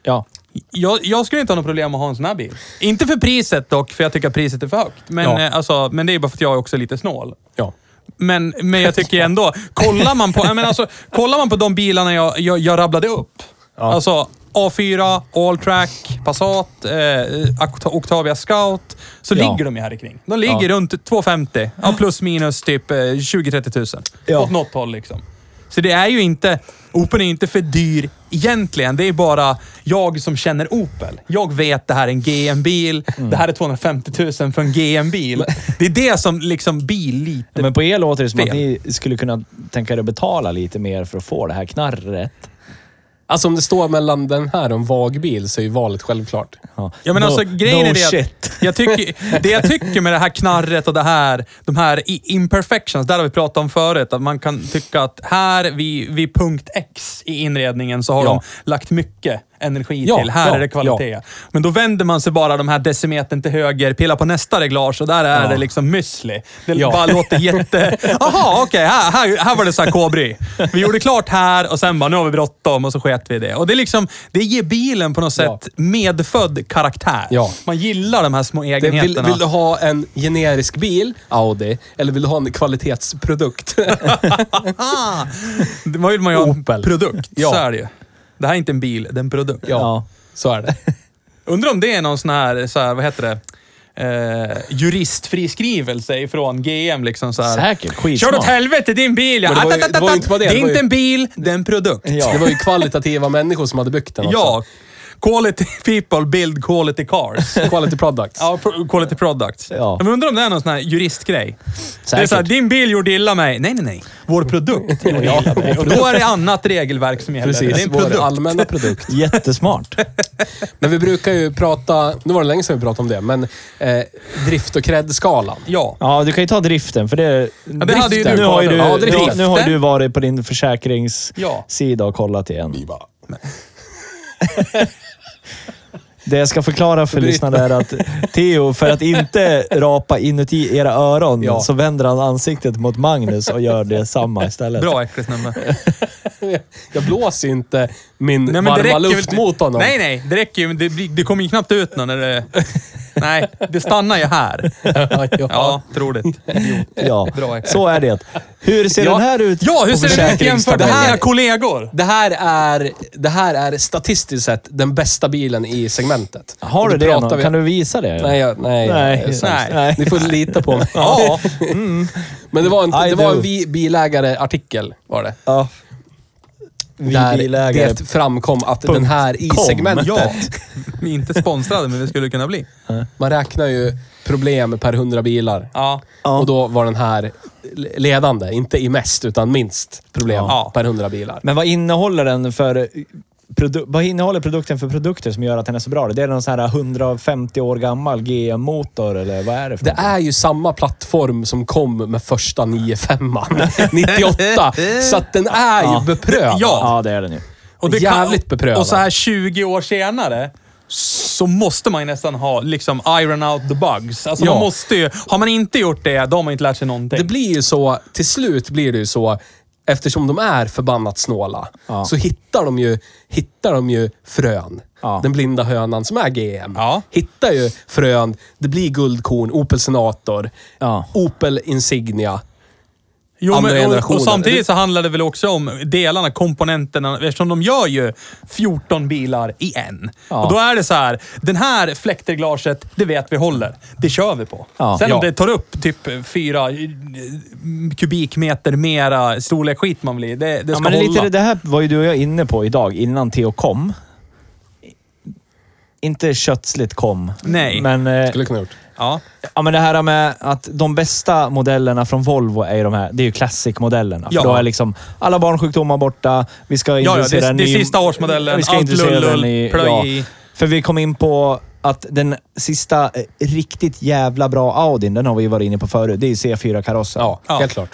Speaker 2: Ja.
Speaker 1: jag, jag skulle inte ha något problem att ha en sån här bil. Inte för priset dock, för jag tycker att priset är för högt. Men,
Speaker 3: Ja.
Speaker 1: eh, alltså, men det är bara för att jag är också lite snål.
Speaker 3: Ja.
Speaker 1: Men, men jag tycker ändå, kollar man på, jag menar alltså, kollar man på de bilarna jag, jag, jag rabblade upp. Alltså A4, Alltrack, Passat, eh, Oct- Octavia Scout. Så
Speaker 2: Ja.
Speaker 1: ligger de ju här kring. De ligger runt 250. Ja, plus minus typ eh, 20-30 tusen.
Speaker 2: Ja.
Speaker 1: Åt något håll liksom. Så det är ju inte, Opel är inte för dyr egentligen. Det är bara jag som känner Opel. Jag vet det här är en GM-bil.
Speaker 2: Mm.
Speaker 1: Det här är 250 000 för en GM-bil. Det är det som liksom bil lite
Speaker 2: Men på er låter det som att
Speaker 1: Fel.
Speaker 2: ni skulle kunna tänka er att betala lite mer för att få det här knarret.
Speaker 3: Alltså om det står mellan den här och en vagbil så är ju valet självklart.
Speaker 2: Ja,
Speaker 1: Ja men
Speaker 2: no,
Speaker 1: alltså grejen
Speaker 2: no
Speaker 1: är det
Speaker 2: shit.
Speaker 1: att jag tycker, det jag tycker med det här knarret och det här, de här i- imperfections, där har vi pratat om förut, att man kan tycka att här vid, vid punkt X i inredningen så har
Speaker 3: Ja.
Speaker 1: de lagt mycket energi
Speaker 3: Ja,
Speaker 1: till. Här
Speaker 3: ja,
Speaker 1: är det kvalitet. Men då vänder man sig bara de här decimetern till höger, pillar på nästa reglage och där är det liksom müsli. Det
Speaker 2: Ja.
Speaker 1: bara låter jätte... Jaha, okej, här, här, här var det så här kobry. Vi gjorde klart här och sen bara, nu har vi bråttom och så sket vi i det. Och det är liksom, det ger bilen på något sätt
Speaker 3: Ja.
Speaker 1: medfödd karaktär.
Speaker 3: Ja.
Speaker 1: Man gillar de här små
Speaker 3: Det, vill,
Speaker 1: egenheterna.
Speaker 3: vill du ha en generisk bil, Audi, eller vill du ha en kvalitetsprodukt?
Speaker 1: Ah, det vill man ju ha en
Speaker 3: Opel.
Speaker 1: produkt.
Speaker 3: Ja.
Speaker 1: Så är det ju. Det här är inte en bil, det är en produkt.
Speaker 2: Ja.
Speaker 3: så är det.
Speaker 1: Undrar om det är någon sån här, så här vad heter det? Eh, juristfriskrivelse ifrån GM liksom så här.
Speaker 2: Säkert, skitsmart.
Speaker 1: Kör åt helvete din bil! Ja. Ah,
Speaker 3: Men det var ju-
Speaker 1: Att, att, att,
Speaker 3: det var ju
Speaker 1: att.
Speaker 3: inte bara det,
Speaker 1: det är
Speaker 3: det var
Speaker 1: inte
Speaker 3: ju-
Speaker 1: en bil, det är en produkt.
Speaker 2: Ja.
Speaker 3: Det var ju kvalitativa människor som hade byggt den också.
Speaker 1: Ja. Quality people build quality cars.
Speaker 3: Quality products.
Speaker 1: Ja, pro- quality products.
Speaker 2: Ja.
Speaker 1: Men undrar om det är någon sån här juristgrej. Det är
Speaker 2: Säkert.
Speaker 1: såhär, din bil gjorde illa mig. Nej, nej, nej. Vår produkt gjorde illa mig. Och då är det annat regelverk som gäller.
Speaker 3: Precis,
Speaker 1: Det är en
Speaker 3: vår
Speaker 1: produkt.
Speaker 3: allmänna produkt.
Speaker 2: Jättesmart.
Speaker 3: Men vi brukar ju prata, nu var det länge sedan vi pratade om det, men eh, drift och cred-skalan.
Speaker 1: Ja.
Speaker 2: Ja, du kan ju ta driften, för det...
Speaker 1: det hade ju
Speaker 2: driften.
Speaker 1: du
Speaker 2: nu, har ju du,
Speaker 1: kollat. Ja,
Speaker 2: nu, har- nu har
Speaker 1: driften.
Speaker 2: du varit på din försäkringssida och kollat igen. Det jag ska förklara för
Speaker 3: Bryt.
Speaker 2: lyssnarna är att Theo, för att inte rapa inuti era öron,
Speaker 3: Ja.
Speaker 2: så vänder han ansiktet mot Magnus och gör det samma istället.
Speaker 1: Bra äckligt nummer.
Speaker 3: Jag blåser ju inte min
Speaker 1: Nej, men det
Speaker 3: varma
Speaker 1: räcker ju
Speaker 3: luft
Speaker 1: inte-
Speaker 3: mot honom.
Speaker 1: Nej, nej. Det räcker ju. men Det, blir- det kommer ju knappt ut någon när det... Nej, det stannar ju här.
Speaker 3: Ja, ja.
Speaker 1: Ja, troligt.
Speaker 2: Ja,
Speaker 1: Bra exempel.
Speaker 2: så är det. Hur ser
Speaker 3: Ja.
Speaker 2: den här ut
Speaker 1: Ja, hur
Speaker 2: på
Speaker 1: ser det ut jämfört med
Speaker 2: försäkringstabellen?
Speaker 1: här kollegor?
Speaker 3: Det här, är, det här är statistiskt sett den bästa bilen i segmentet.
Speaker 2: Har
Speaker 3: Och
Speaker 2: du det
Speaker 3: pratar
Speaker 2: någon?
Speaker 3: vi-
Speaker 2: Kan du visa det?
Speaker 3: Nej, jag, nej,
Speaker 2: Nej,
Speaker 3: jag är sämst.
Speaker 1: nej,
Speaker 2: nej. Mm.
Speaker 3: Ni får lita på mig.
Speaker 1: Ja.
Speaker 3: Men det var en,
Speaker 2: I
Speaker 3: det var
Speaker 2: do.
Speaker 3: en vi bilägare-artikel, var det.
Speaker 2: Ja. Vi
Speaker 3: där
Speaker 2: bilägare.
Speaker 3: det framkom att
Speaker 2: Punkt.
Speaker 3: den här i
Speaker 2: Kom.
Speaker 3: segmentet,
Speaker 1: Ja. Vi är inte sponsrade, men vi skulle kunna bli.
Speaker 3: man räknar ju problem per 100 bilar.
Speaker 1: Ja.
Speaker 2: Ja.
Speaker 3: Och då var den här ledande, inte i mest utan minst problem
Speaker 1: Ja.
Speaker 3: per 100 bilar.
Speaker 2: Men vad innehåller den för... eh, Produ- vad innehåller produkten för produkter som gör att den är så bra? Det är någon sån här 150 år gammal GM-motor eller vad är det för
Speaker 3: Det
Speaker 2: någonting?
Speaker 3: är ju samma plattform som kom med första 95 98. Så att den är ju
Speaker 2: Ja.
Speaker 3: beprövad.
Speaker 1: Ja.
Speaker 2: Ja, det är den ju.
Speaker 1: Och
Speaker 3: Jävligt beprövad.
Speaker 1: Och så här 20 år senare så måste man ju nästan ha liksom iron out the bugs. Alltså man
Speaker 3: Ja.
Speaker 1: måste ju, har man inte gjort det, då har man inte lärt sig någonting.
Speaker 3: Det blir ju så, till slut blir det ju så, eftersom de är förbannat snåla,
Speaker 2: Ja.
Speaker 3: så hittar de ju, hittar de ju frön.
Speaker 2: Ja.
Speaker 3: Den blinda hönan som är GM.
Speaker 1: Ja.
Speaker 3: Hittar ju frön, det blir guldkorn, Opel Senator,
Speaker 2: Ja.
Speaker 3: Opel Insignia.
Speaker 1: Jo,
Speaker 3: andra
Speaker 1: men, och, och
Speaker 3: generationen.
Speaker 1: samtidigt så handlar det väl också om delarna, komponenterna, eftersom de gör ju 14 bilar i en.
Speaker 2: Ja.
Speaker 1: Och då är det så här, den här fläktreglaget, det vet vi håller. Det kör vi på.
Speaker 2: Ja.
Speaker 1: Sen om
Speaker 3: Ja.
Speaker 1: det tar upp typ fyra eh, kubikmeter mera storlek skit man blir, det, det
Speaker 2: Ja,
Speaker 1: ska
Speaker 2: men det, är
Speaker 1: hålla.
Speaker 2: lite, det- det här var ju du och jag inne på idag, innan Theo kom. Inte kötsligt kom.
Speaker 1: Nej.
Speaker 2: Men, eh,
Speaker 3: Skulle kunna gjort.
Speaker 1: Ja.
Speaker 2: ja, men det här med att de bästa modellerna från Volvo är ju de här. Det är ju classic-modellerna.
Speaker 1: Ja.
Speaker 2: För då är liksom alla barnsjukdomar borta. Vi ska
Speaker 1: ja,
Speaker 2: introducera
Speaker 1: det är-
Speaker 2: en
Speaker 1: det är
Speaker 2: ny...
Speaker 1: sista årsmodellen.
Speaker 2: Vi ska
Speaker 1: Allt
Speaker 2: introducera
Speaker 1: lull, lull,
Speaker 2: den i...
Speaker 1: plöj
Speaker 2: ja.
Speaker 1: i.
Speaker 2: För vi kom in på att den sista eh, riktigt jävla bra Audin, den har vi ju varit inne på förut. Det är ju C4-karossen.
Speaker 3: Ja,
Speaker 1: Ja.
Speaker 3: helt klart.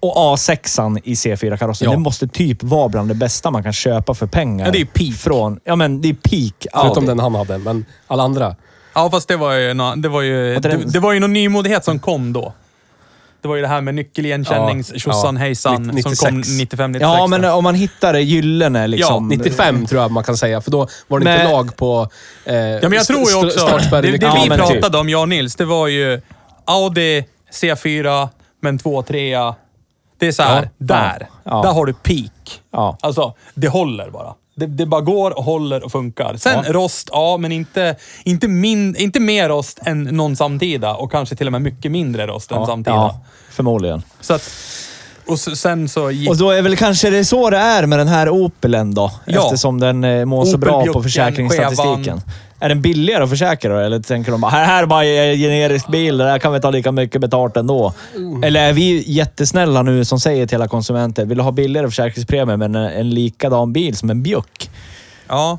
Speaker 2: Och A6an i C4-karossen,
Speaker 3: Ja.
Speaker 2: den måste typ vara bland det bästa man kan köpa för pengar.
Speaker 1: Ja, det är ju peak.
Speaker 2: Från, ja, men det är peak Audi.
Speaker 3: Förutom den han hade, men alla andra.
Speaker 1: Ja, fast det var ju, nå- det var ju,
Speaker 2: Och
Speaker 1: det,
Speaker 2: den-
Speaker 1: det var ju någon nymodighet som kom då. Det var ju det här med nyckeligenkännings,
Speaker 3: Ja,
Speaker 1: tjossan,
Speaker 3: ja.
Speaker 1: hejsan, som
Speaker 3: 96.
Speaker 1: kom 95, 96.
Speaker 2: Ja, men om man hittar det gyllene liksom.
Speaker 1: Ja,
Speaker 3: 95 tror jag man kan säga, för då var det
Speaker 2: Men-
Speaker 3: inte lag på eh,
Speaker 1: Ja, men jag tror ju också... Det,
Speaker 3: startspärren.
Speaker 1: det vi
Speaker 2: Ja, men typ.
Speaker 1: pratade om, jag och Nils, det var ju Audi C4, men 2 3 Det är så här,
Speaker 2: Ja.
Speaker 1: där.
Speaker 2: Ja.
Speaker 1: Där har du peak.
Speaker 2: Ja.
Speaker 1: Alltså, det håller bara. Det, det bara går och håller och funkar. Sen rost, ja, men inte, inte, min, inte mer rost än någon samtida och kanske till och med mycket mindre rost än samtida.
Speaker 2: Ja, förmodligen.
Speaker 1: Så att, och s- sen så gick...
Speaker 2: Och då är väl kanske det så det är med den här Opelen då?
Speaker 1: Ja.
Speaker 2: Eftersom den eh, mår så
Speaker 1: Opel,
Speaker 2: bra på
Speaker 1: Bjucken,
Speaker 2: försäkringsstatistiken.
Speaker 1: Chevan.
Speaker 2: Är den billigare att försäkra då? Eller tänker de bara, här, här är bara en generisk bil, det där kan vi ta lika mycket betalt ändå.
Speaker 1: Uh.
Speaker 2: Eller är vi jättesnälla nu som säger till alla konsumenter, vill du ha billigare försäkringspremie men en- en likadan bil som en Bjuck?
Speaker 1: Ja.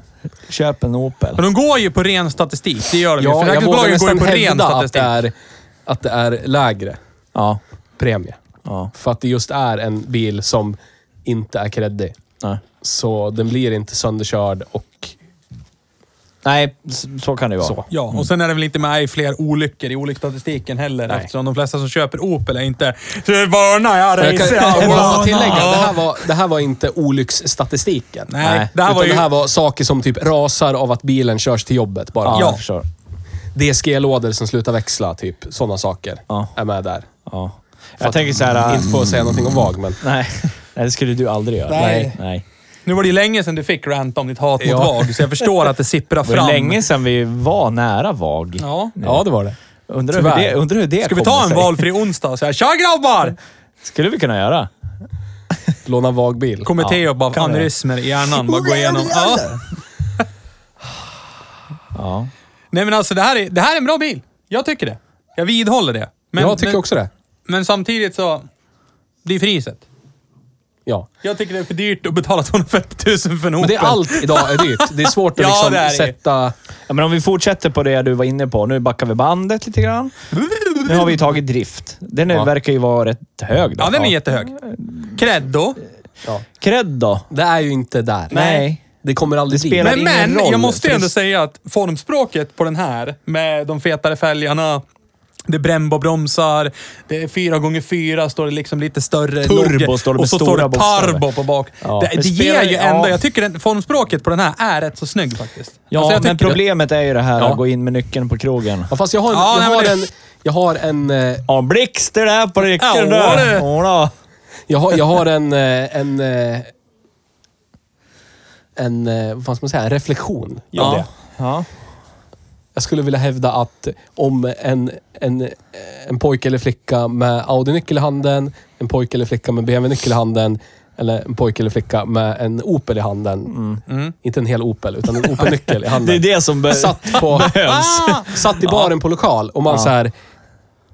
Speaker 2: Köp en Opel.
Speaker 1: Men de går ju på ren statistik, det gör de ju.
Speaker 3: Ja, jag vågar
Speaker 1: Försäkringsbolagen går ju
Speaker 3: nästan
Speaker 1: på ren
Speaker 3: hävda att
Speaker 1: statistik.
Speaker 3: det, är, att det är lägre
Speaker 2: Ja.
Speaker 3: premie.
Speaker 2: ja.
Speaker 3: För att det just är en bil som inte är creddig.
Speaker 2: Nej.
Speaker 3: Så den blir inte sönderkörd och...
Speaker 2: Nej, s- så kan det ju vara.
Speaker 3: Så.
Speaker 1: Ja, och sen är det väl inte med i fler olyckor i olycksstatistiken heller
Speaker 3: Nej.
Speaker 1: eftersom de flesta som köper Opel är inte "Så jag varnar jag
Speaker 3: Jag kan,
Speaker 1: racer.
Speaker 3: jag kan bara tillägga, det
Speaker 1: Ja.
Speaker 3: här var, det här var inte olycksstatistiken.
Speaker 1: Nej, det här
Speaker 3: utan
Speaker 1: var ju-
Speaker 3: det här var saker som typ rasar av att bilen körs till jobbet bara.
Speaker 2: Ja,
Speaker 1: Ja.
Speaker 2: jag förstår.
Speaker 3: DSG-lådor som slutar växla, typ. Sådana saker
Speaker 2: Ja.
Speaker 3: är med där.
Speaker 2: Ja.
Speaker 3: För
Speaker 2: Jag
Speaker 3: att
Speaker 2: tänker så här...
Speaker 1: äh,
Speaker 2: äh,
Speaker 3: Inte för att säga någonting om VAG, men...
Speaker 2: Nej. Nej, det skulle du aldrig göra.
Speaker 1: Nej.
Speaker 2: Nej.
Speaker 1: Nu var det ju länge sedan du fick rant om ditt hat mot
Speaker 3: Ja.
Speaker 1: VAG, så jag förstår att det sipprar
Speaker 2: Det
Speaker 1: fram.
Speaker 2: var länge sedan vi var nära VAG.
Speaker 1: Ja.
Speaker 3: Ja, det var det.
Speaker 2: Undrar hur
Speaker 3: Tyvärr.
Speaker 2: det, undrar hur det
Speaker 1: Ska vi
Speaker 2: kommer
Speaker 1: ta en
Speaker 2: sig.
Speaker 1: valfri onsdag? Så här, Tja grabbar!
Speaker 2: Skulle vi kunna göra.
Speaker 3: Låna VAG-bil.
Speaker 1: Kommer
Speaker 2: Ja,
Speaker 1: Theo bara
Speaker 2: kan vi.
Speaker 1: aneurysmer i hjärnan. Bara gå igenom. Ja.
Speaker 2: Ja.
Speaker 1: Nej men alltså det här, är, det här är en bra bil. Jag tycker det. Jag vidhåller det. Men,
Speaker 3: jag tycker
Speaker 1: men,
Speaker 3: också det.
Speaker 1: men samtidigt så, det är priset.
Speaker 3: Ja.
Speaker 1: Jag tycker det är för dyrt att betala 250 000 för en Opel.
Speaker 3: Men det är allt idag är dyrt. Det är svårt att
Speaker 1: Ja,
Speaker 3: liksom
Speaker 1: det är det.
Speaker 3: sätta...
Speaker 2: ja, men om vi fortsätter på det du var inne på. Nu backar vi bandet lite grann. Nu har vi tagit drift. Den är-
Speaker 3: Ja.
Speaker 2: verkar ju vara rätt hög. Då.
Speaker 1: Ja, den är jättehög. Creddo.
Speaker 3: Ja.
Speaker 2: Cred då?
Speaker 3: Det är ju inte där.
Speaker 2: Nej.
Speaker 3: Det kommer aldrig
Speaker 2: Det
Speaker 3: dit.
Speaker 2: spelar
Speaker 1: Men,
Speaker 2: ingen
Speaker 1: men
Speaker 2: roll,
Speaker 1: jag måste ju
Speaker 2: för
Speaker 1: ändå
Speaker 2: det-
Speaker 1: säga att formspråket på den här med de fetare fälgarna, det är Brembo-bromsar, det är 4x4 står det liksom lite större.
Speaker 2: Turbo
Speaker 1: logge,
Speaker 2: står det med
Speaker 1: Och så står
Speaker 2: stora
Speaker 1: det Parbo
Speaker 2: bokstäver.
Speaker 1: på bak.
Speaker 2: Ja.
Speaker 1: Det,
Speaker 2: Men
Speaker 1: det ger
Speaker 2: spelar-
Speaker 1: ju ändå...
Speaker 2: ja.
Speaker 1: Jag tycker den, formspråket på den här är rätt så snygg faktiskt.
Speaker 2: Ja,
Speaker 1: Alltså, jag
Speaker 2: men
Speaker 1: tycker det.
Speaker 2: problemet är ju det här
Speaker 3: Ja.
Speaker 2: att gå in med nyckeln på krogen.
Speaker 3: Ja, fast jag har en...
Speaker 1: Ja,
Speaker 3: jag,
Speaker 1: nej, men
Speaker 3: har
Speaker 1: det-
Speaker 3: en jag har en... eh,
Speaker 2: Ja, blixt det där på nyckeln
Speaker 1: Ja, det-
Speaker 2: du! Jodå.
Speaker 3: Jag har, jag har en... eh, en eh, en, eh, vad fan ska man säga, en reflektion.
Speaker 1: Ja.
Speaker 3: Ja. Det.
Speaker 2: Ja.
Speaker 3: Jag skulle vilja hävda att om en, en, eh, en pojke eller flicka med Audi-nyckel i handen, en pojke eller flicka med BMW-nyckel i handen, eller en pojke eller flicka med en Opel i handen. Inte en hel Opel, utan en Opel-nyckel i handen.
Speaker 2: Mm. Det är det som be-
Speaker 3: satt, på,
Speaker 2: behövs.
Speaker 3: satt i baren på lokal och man
Speaker 2: Ja.
Speaker 3: så här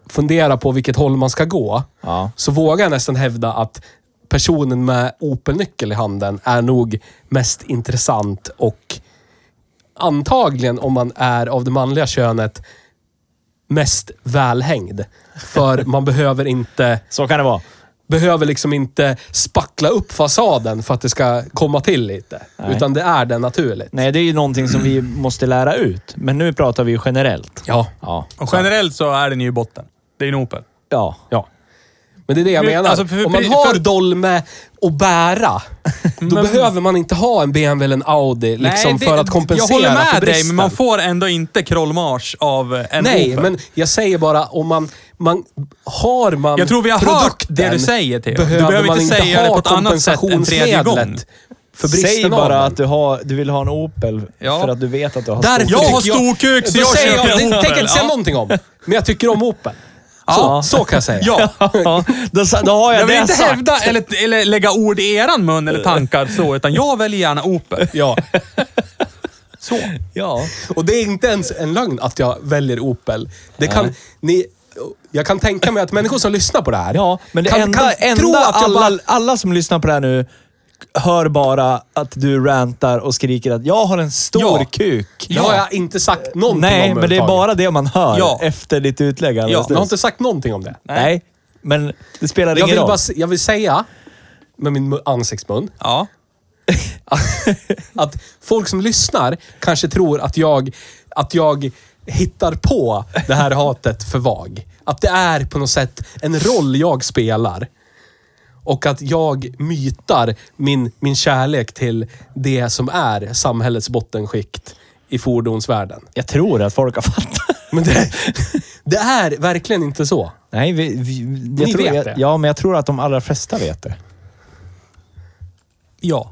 Speaker 3: funderar på vilket håll man ska gå.
Speaker 2: Ja.
Speaker 3: Så vågar jag nästan hävda att personen med Opel-nyckel i handen är nog mest intressant och antagligen, om man är av det manliga könet, mest välhängd. För man behöver inte,
Speaker 2: Så kan det vara.
Speaker 3: behöver liksom inte spackla upp fasaden för att det ska komma till lite.
Speaker 2: Nej.
Speaker 3: Utan det är det naturligt.
Speaker 2: Nej, det är ju någonting som vi måste lära ut. Men nu pratar vi ju generellt.
Speaker 3: Ja.
Speaker 2: Ja.
Speaker 1: Och generellt så är den ju i botten. Det är en Opel.
Speaker 2: Ja.
Speaker 3: Ja. Men det är det jag
Speaker 1: Men,
Speaker 3: menar.
Speaker 1: alltså, för-
Speaker 3: Om man
Speaker 1: för-
Speaker 3: har
Speaker 1: för-
Speaker 3: dolme och bära, då behöver man inte ha en BMW eller en Audi liksom,
Speaker 1: det-
Speaker 3: för att kompensera
Speaker 1: Jag håller
Speaker 3: för
Speaker 1: med dig,
Speaker 3: bristen.
Speaker 1: men man får ändå inte krollmarsch av eh, en
Speaker 3: Nej,
Speaker 1: Opel.
Speaker 3: men jag säger bara om man... man har man
Speaker 1: Jag tror vi har hört
Speaker 3: produkten,
Speaker 1: det du säger, Theo. Du
Speaker 3: behöver
Speaker 1: behöver
Speaker 3: man
Speaker 1: inte säga det
Speaker 3: ha
Speaker 1: på ett annat sätt en tredje gång.
Speaker 3: kompensationsmedlet För
Speaker 2: Säg
Speaker 3: bristen
Speaker 2: bara
Speaker 3: av
Speaker 2: att du,
Speaker 3: den.
Speaker 2: har, du vill ha en Opel
Speaker 1: Ja.
Speaker 2: för att du vet att du har
Speaker 3: Därför
Speaker 2: stor-
Speaker 1: Jag har
Speaker 3: tycker
Speaker 1: stor kuk, så
Speaker 3: Då
Speaker 1: jag
Speaker 3: säger
Speaker 1: köper en Opel.
Speaker 3: Det tänker jag inte säga
Speaker 1: Ja.
Speaker 3: någonting om. Men jag tycker om Opel.
Speaker 1: Ja.
Speaker 3: Så, så kan jag säga.
Speaker 1: Ja,
Speaker 2: Ja, då, sa- då har jag,
Speaker 1: jag vill
Speaker 2: det
Speaker 1: inte
Speaker 2: sagt.
Speaker 1: hävda eller, eller lägga ord i eran mun eller tankar så, utan jag väljer gärna Opel.
Speaker 3: ja.
Speaker 1: Så.
Speaker 2: Ja.
Speaker 3: Och det är inte ens en lögn att jag väljer Opel. Det kan, ni, jag kan tänka mig att människor som lyssnar på det här
Speaker 2: ja, men det
Speaker 3: kan,
Speaker 2: enda,
Speaker 3: kan tro
Speaker 2: enda
Speaker 3: att jag
Speaker 2: alla,
Speaker 3: bara...
Speaker 2: alla som lyssnar på det här nu hör bara att du rantar och skriker att jag har en stor
Speaker 1: Ja.
Speaker 2: kuk.
Speaker 3: Det har jag inte sagt någonting om
Speaker 2: Nej, men det är
Speaker 3: överhuvudtaget.
Speaker 2: bara det man hör
Speaker 1: Ja.
Speaker 2: efter ditt utlägg alldeles
Speaker 3: Jag har
Speaker 2: nyss.
Speaker 3: inte sagt någonting om det.
Speaker 2: Nej, men det spelar
Speaker 3: Jag
Speaker 2: ingen
Speaker 3: vill,
Speaker 2: roll.
Speaker 3: bara, s- jag vill säga, med min mu- ansiktsmun,
Speaker 1: Ja.
Speaker 3: att folk som lyssnar kanske tror att jag, att jag hittar på det här hatet för VAG. Att det är på något sätt en roll jag spelar. Och att jag mytar min, min kärlek till det som är samhällets bottenskikt i fordonsvärlden.
Speaker 2: Jag tror att folk har fattat.
Speaker 3: Men det, det är verkligen inte så.
Speaker 2: Nej, vi, vi, jag
Speaker 3: Ni
Speaker 2: tror,
Speaker 3: vet
Speaker 2: jag,
Speaker 3: det.
Speaker 2: Ja, men jag tror att de allra flesta vet det.
Speaker 1: Ja.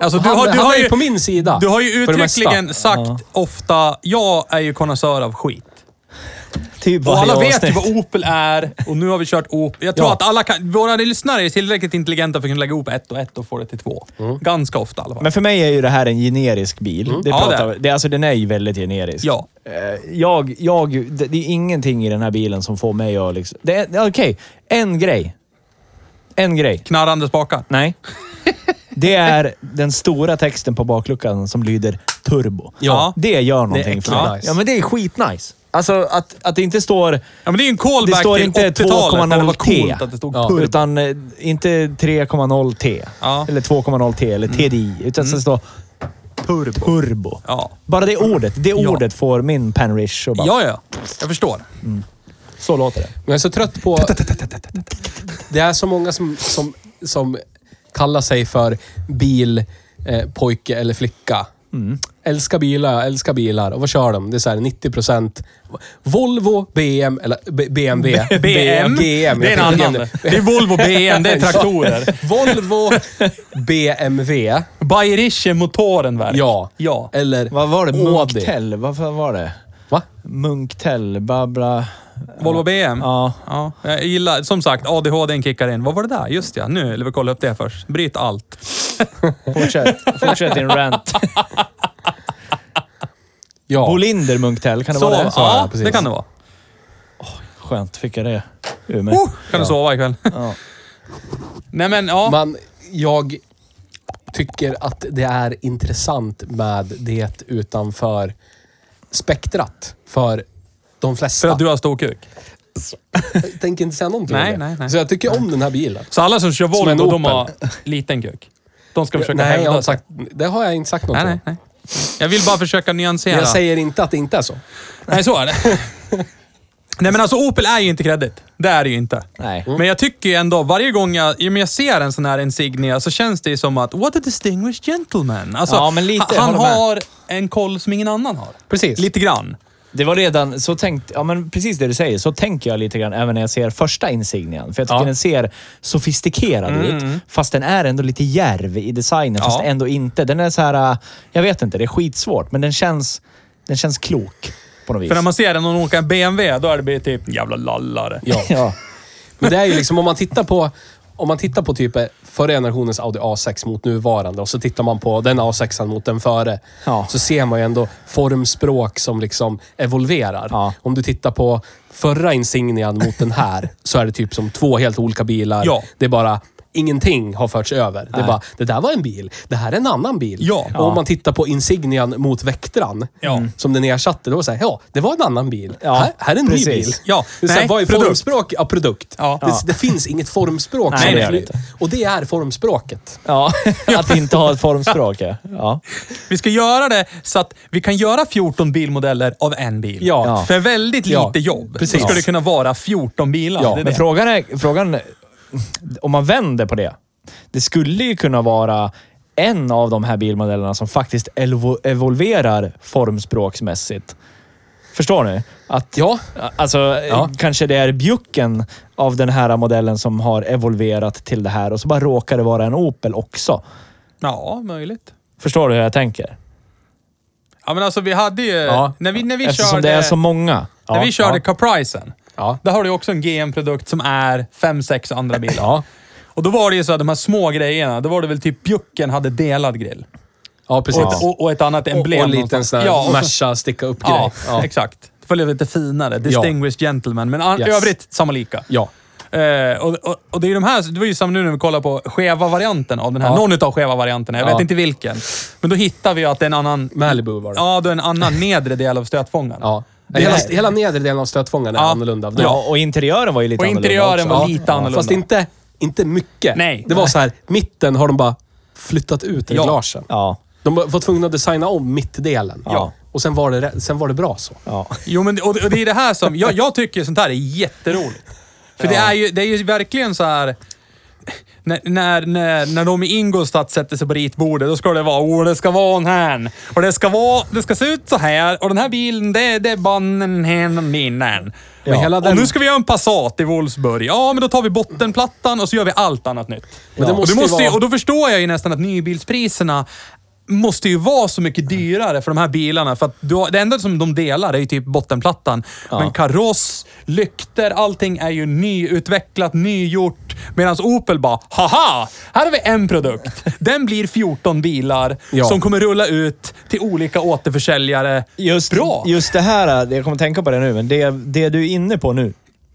Speaker 3: Alltså,
Speaker 1: du
Speaker 3: han,
Speaker 1: har- du
Speaker 3: han
Speaker 1: har
Speaker 3: är
Speaker 1: ju-
Speaker 3: på min sida.
Speaker 1: Du har ju
Speaker 3: för det mesta.
Speaker 1: uttryckligen sagt ofta, jag är ju konnässör av skit.
Speaker 2: Typ
Speaker 1: Och
Speaker 2: varje
Speaker 1: alla vet ju
Speaker 2: avsnitt.
Speaker 1: vad Opel är och nu har vi kört Opel. Jag tror
Speaker 3: Ja.
Speaker 1: att alla kan, våra lyssnare är tillräckligt intelligenta för att kunna lägga ihop ett och ett och få det till två.
Speaker 3: Mm.
Speaker 1: Ganska ofta i alla fall.
Speaker 2: Men för mig är ju det här en generisk bil. Det
Speaker 1: Mm. Ja,
Speaker 2: pratar,
Speaker 1: det
Speaker 2: det. alltså, den är ju väldigt generisk.
Speaker 1: Ja.
Speaker 2: Eh, Jag, jag, det, det är ingenting i den här bilen som får mig att liksom... Det är- det är Okej, en grej. En grej.
Speaker 1: Knarrande spakar.
Speaker 2: Nej. Det är den stora texten på bakluckan som lyder turbo.
Speaker 1: Ja.
Speaker 2: Det gör någonting
Speaker 3: äckligt
Speaker 2: för mig.
Speaker 3: nice.
Speaker 2: Ja, men det är skitnice. Alltså att, att det inte står...
Speaker 1: Ja, men det är ju en
Speaker 2: Det
Speaker 1: callback
Speaker 2: står
Speaker 1: till
Speaker 2: inte
Speaker 1: 80-talet när det var coolt
Speaker 2: 2,0T.
Speaker 1: att det stod
Speaker 2: Ja.
Speaker 1: turbo.
Speaker 2: Utan eh, inte 3,0T.
Speaker 1: Ja. Mm.
Speaker 2: Eller 2,0T eller TDI. Utan så står turbo. turbo.
Speaker 1: Ja.
Speaker 2: Bara det ordet. Det ordet får min panrish och bara...
Speaker 1: Ja, ja. Jag förstår.
Speaker 2: Så låter det.
Speaker 3: Men jag är så trött på... Det är så många som, som, som kallar sig för bilpojke eller flicka.
Speaker 1: Mm.
Speaker 3: Älskar bilar, älskar bilar. Och vad kör de? Det är så här 90 procent Volvo, BM, eller B- BMW.
Speaker 1: BM,
Speaker 3: GM.
Speaker 1: det är en
Speaker 3: jag tänkte
Speaker 1: annan.
Speaker 3: GM.
Speaker 1: Det är Volvo BM, det är traktorer.
Speaker 3: Volvo, BMW.
Speaker 1: Bayerische Motorenwerk.
Speaker 3: Ja. Eh,
Speaker 1: Ja.
Speaker 3: Eller
Speaker 2: Vad var det?
Speaker 3: Audi.
Speaker 2: Munktell? Vad var det?
Speaker 3: Va?
Speaker 2: Munktell? Babla...
Speaker 1: Eh, Volvo BM.
Speaker 2: Ja.
Speaker 1: Ja, jag gillar, som sagt, ADHDn kickar in. Vad var det där? Just ja, nu vill vi kolla upp det först. Bryt allt.
Speaker 2: Fortsätt. Fortsätt din rant.
Speaker 3: Ja.
Speaker 2: Bolinder Munktell, kan det
Speaker 1: Sova.
Speaker 2: vara det?
Speaker 1: Ja,
Speaker 3: Så, ja, precis.
Speaker 1: det kan det vara.
Speaker 2: Skönt, fick jag det ur mig.
Speaker 1: Oh, kan du sova ikväll?
Speaker 2: Ja.
Speaker 1: Nej men, ja.
Speaker 3: Men jag tycker att det är intressant med det utanför spektrat för de flesta.
Speaker 1: För att du har stor kuk.
Speaker 3: Jag tänker inte säga någonting om
Speaker 1: Nej,
Speaker 3: det.
Speaker 1: nej, nej.
Speaker 3: Så jag tycker om den här bilen.
Speaker 1: Så alla som kör
Speaker 3: en
Speaker 1: Volvo, de
Speaker 3: Opel.
Speaker 1: har liten kuk. De ska försöka
Speaker 3: nej, jag
Speaker 1: hävda
Speaker 3: har inte sagt, det har jag inte sagt
Speaker 1: Nej,
Speaker 3: någonting
Speaker 1: nej, nej. Jag vill bara försöka
Speaker 3: om.
Speaker 1: nyansera.
Speaker 3: Men Jag säger inte att det inte är så.
Speaker 1: Nej, så är det. Nej men alltså Opel är ju inte kredit. Det är det ju inte.
Speaker 2: Nej.
Speaker 1: Men jag tycker ju ändå, varje gång jag, i och med jag ser en sån här insignia så känns det ju som att, what a distinguished gentleman. Alltså,
Speaker 2: Ja, men lite,
Speaker 1: han, han
Speaker 2: håller med.
Speaker 1: har en koll som ingen annan har.
Speaker 3: Precis.
Speaker 1: Lite grann.
Speaker 2: Det var redan så tänkt, ja men precis det du säger, så tänker jag lite grann även när jag ser första insignian. För jag tycker
Speaker 3: Ja.
Speaker 2: den ser sofistikerad ut, fast den är ändå lite järv i designen, fast
Speaker 1: Mm, Ja.
Speaker 2: ändå inte. Den är så här, äh, jag vet inte, det är skitsvårt, men den känns, den känns klok på något vis.
Speaker 1: För när man ser den och åka en BMW, då är det bara typ, jävla lallare.
Speaker 3: Ja.
Speaker 2: ja.
Speaker 3: Men det är ju liksom om man tittar på om man tittar på typ förra generationens Audi A6 mot nuvarande och så tittar man på den A6 mot den före.
Speaker 2: Ja.
Speaker 3: Så ser man ju ändå formspråk som liksom evolverar.
Speaker 2: Ja.
Speaker 3: Om du tittar på förra Insignian mot den här så är det typ som två helt olika bilar.
Speaker 1: Ja.
Speaker 3: Det är bara Ingenting har förts över. Det är
Speaker 2: Nej.
Speaker 3: bara, det där var en bil. Det här är en annan bil.
Speaker 1: Ja.
Speaker 3: Och om man tittar på Insignian mot Vectran,
Speaker 1: Ja.
Speaker 3: som den ersatte, då var det så här, ja, det var en annan bil.
Speaker 2: Ja,
Speaker 3: Här, här är en
Speaker 2: precis.
Speaker 3: ny bil.
Speaker 1: Ja,
Speaker 3: Det är så här,
Speaker 1: nej,
Speaker 3: vad är
Speaker 1: produkt.
Speaker 3: formspråk? Ja, produkt.
Speaker 1: Ja.
Speaker 3: Det, det finns inget formspråk.
Speaker 2: Nej,
Speaker 3: som
Speaker 2: det gör det
Speaker 3: fly- Och det är formspråket.
Speaker 2: ja, att inte ha ett formspråk. Ja. Ja.
Speaker 1: Vi ska göra det så att vi kan göra 14 bilmodeller av en bil.
Speaker 3: Ja.
Speaker 2: Ja.
Speaker 1: För väldigt lite
Speaker 3: Ja,
Speaker 1: jobb
Speaker 3: precis.
Speaker 1: så ska det kunna vara 14 bilar.
Speaker 3: Ja,
Speaker 1: det är
Speaker 2: Men
Speaker 1: det.
Speaker 2: frågan är, frågan, om man vänder på det. Det skulle ju kunna vara en av de här bilmodellerna som faktiskt elvo- evolverar formspråksmässigt. Förstår ni? Att,
Speaker 3: Ja.
Speaker 2: Alltså,
Speaker 3: Ja.
Speaker 2: kanske det är bjucken av den här modellen som har evolverat till det här och så bara råkar det vara en Opel också.
Speaker 1: ja, möjligt.
Speaker 2: Förstår du hur jag tänker?
Speaker 1: Ja, men alltså vi hade ju...
Speaker 3: Ja.
Speaker 1: När vi, när vi
Speaker 2: Eftersom
Speaker 1: körde,
Speaker 2: det är så många.
Speaker 1: när vi körde
Speaker 2: ja.
Speaker 1: Capricen,
Speaker 3: Ja.
Speaker 1: där har du också en GM-produkt som är fem sex andra bilar.
Speaker 3: Ja.
Speaker 1: Och då var det ju så att de här små grejerna, då var det väl typ bjucken hade delad grill.
Speaker 3: Ja, precis.
Speaker 1: Och, ett, och, och ett annat
Speaker 3: Och-
Speaker 1: emblem.
Speaker 3: och en liten
Speaker 1: någonstans.
Speaker 3: sån här
Speaker 1: Ja, och så-
Speaker 3: Merca sticka upp-grej.
Speaker 1: Ja,
Speaker 3: Ja. Ja.
Speaker 1: exakt. Det var lite finare. Distinguished gentleman. Men an-
Speaker 3: Yes.
Speaker 1: övrigt samma lika. Eh, och, och, och det är ju de här, det var ju som nu när vi kollar på skeva varianten av den här.
Speaker 3: Ja.
Speaker 1: Någon utav skeva varianterna, jag
Speaker 3: Ja.
Speaker 1: vet inte vilken. Men då hittar vi ju att det är en annan...
Speaker 3: Malibu var det.
Speaker 1: Ja, då är en annan nedre del av stötfångaren.
Speaker 3: Ja. Eh,
Speaker 1: Det
Speaker 3: hela,
Speaker 1: är-
Speaker 3: hela nedre delen av stötfångaren är
Speaker 1: Ja.
Speaker 3: annorlunda.
Speaker 1: Ja.
Speaker 2: Ja, och interiören var ju lite
Speaker 1: Och
Speaker 2: annorlunda
Speaker 1: interiören
Speaker 2: också.
Speaker 1: var
Speaker 2: Ja.
Speaker 1: lite annorlunda.
Speaker 3: Fast inte, inte mycket.
Speaker 1: Nej.
Speaker 3: Det var så här, mitten har de bara flyttat ut reglagen.
Speaker 2: Ja.
Speaker 3: De var tvungna att designa om mittdelen.
Speaker 2: Ja.
Speaker 3: Och sen var det, rä- sen var det bra så.
Speaker 2: Ja.
Speaker 1: Jo, men och, och det är det här som... Jag, jag tycker sånt här är jätteroligt. För det, är ju, det är ju verkligen så här... När, när, när, när de i Ingolstadt sätter sig på ritbordet, då ska det vara åh, det ska vara en här. Och det ska, vara, det ska se ut så här. Och den här bilen, det, det är bannen här, minnen.
Speaker 3: Men
Speaker 2: Ja.
Speaker 3: hela
Speaker 1: Och
Speaker 3: den,
Speaker 1: nu ska vi göra en Passat i Wolfsburg. Ja, men då tar vi bottenplattan och så gör vi allt annat nytt.
Speaker 3: Men det
Speaker 1: och,
Speaker 3: måste
Speaker 1: det
Speaker 3: ju
Speaker 1: måste ju,
Speaker 3: vara-
Speaker 1: och då förstår jag ju nästan att nybilspriserna måste ju vara så mycket dyrare för de här bilarna. För att du har, det enda som de delar är ju typ bottenplattan. Men kaross, lykter, allting är ju nyutvecklat, nygjort. Medan Opel bara, haha! Här har vi en produkt. Den blir 14 bilar
Speaker 3: Ja.
Speaker 1: som kommer rulla ut till olika återförsäljare.
Speaker 2: Just,
Speaker 1: Bra!
Speaker 2: just det här, jag kommer tänka på det nu, men det, det du är inne på nu,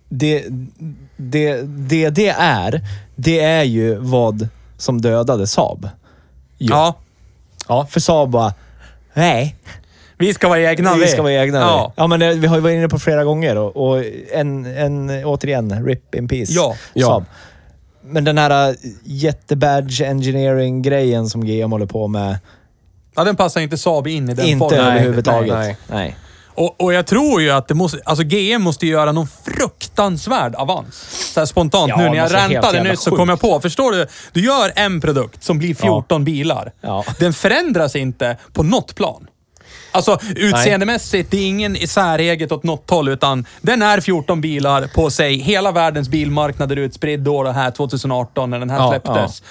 Speaker 2: det det, det det är, det är ju vad som dödade Saab.
Speaker 1: Ja,
Speaker 2: Ja. För Saab bara, nej,
Speaker 1: vi ska vara egna.
Speaker 2: vi ska vara egna.
Speaker 1: Ja.
Speaker 2: Ja, men eh, vi har ju varit inne på flera gånger och, och en, en, återigen, RIP in peace.
Speaker 1: Ja.
Speaker 3: Ja.
Speaker 2: Saab. Men den här eh, jättebadge engineering-grejen som GM håller på med,
Speaker 1: Ja, den passar inte Saab in i den
Speaker 2: inte
Speaker 1: formen.
Speaker 2: överhuvudtaget.
Speaker 3: nej,
Speaker 2: nej.
Speaker 1: Och, och jag tror ju att det måste, alltså GM måste ju göra någon fruktansvärd avans. Så här spontant
Speaker 2: Ja,
Speaker 1: nu när
Speaker 2: något
Speaker 1: jag
Speaker 2: så helt
Speaker 1: räntade
Speaker 2: jävla
Speaker 1: nu så
Speaker 2: sjukt.
Speaker 1: kom jag på. Förstår du? Du gör en produkt som blir 14 bilar.
Speaker 2: Ja.
Speaker 1: Den förändras inte på något plan. Alltså utseendemässigt, det är ingen särreget åt något håll, utan den är 14 bilar på sig. Hela världens bilmarknader utspridd då, det här 2018 när den här
Speaker 3: Ja,
Speaker 1: släpptes.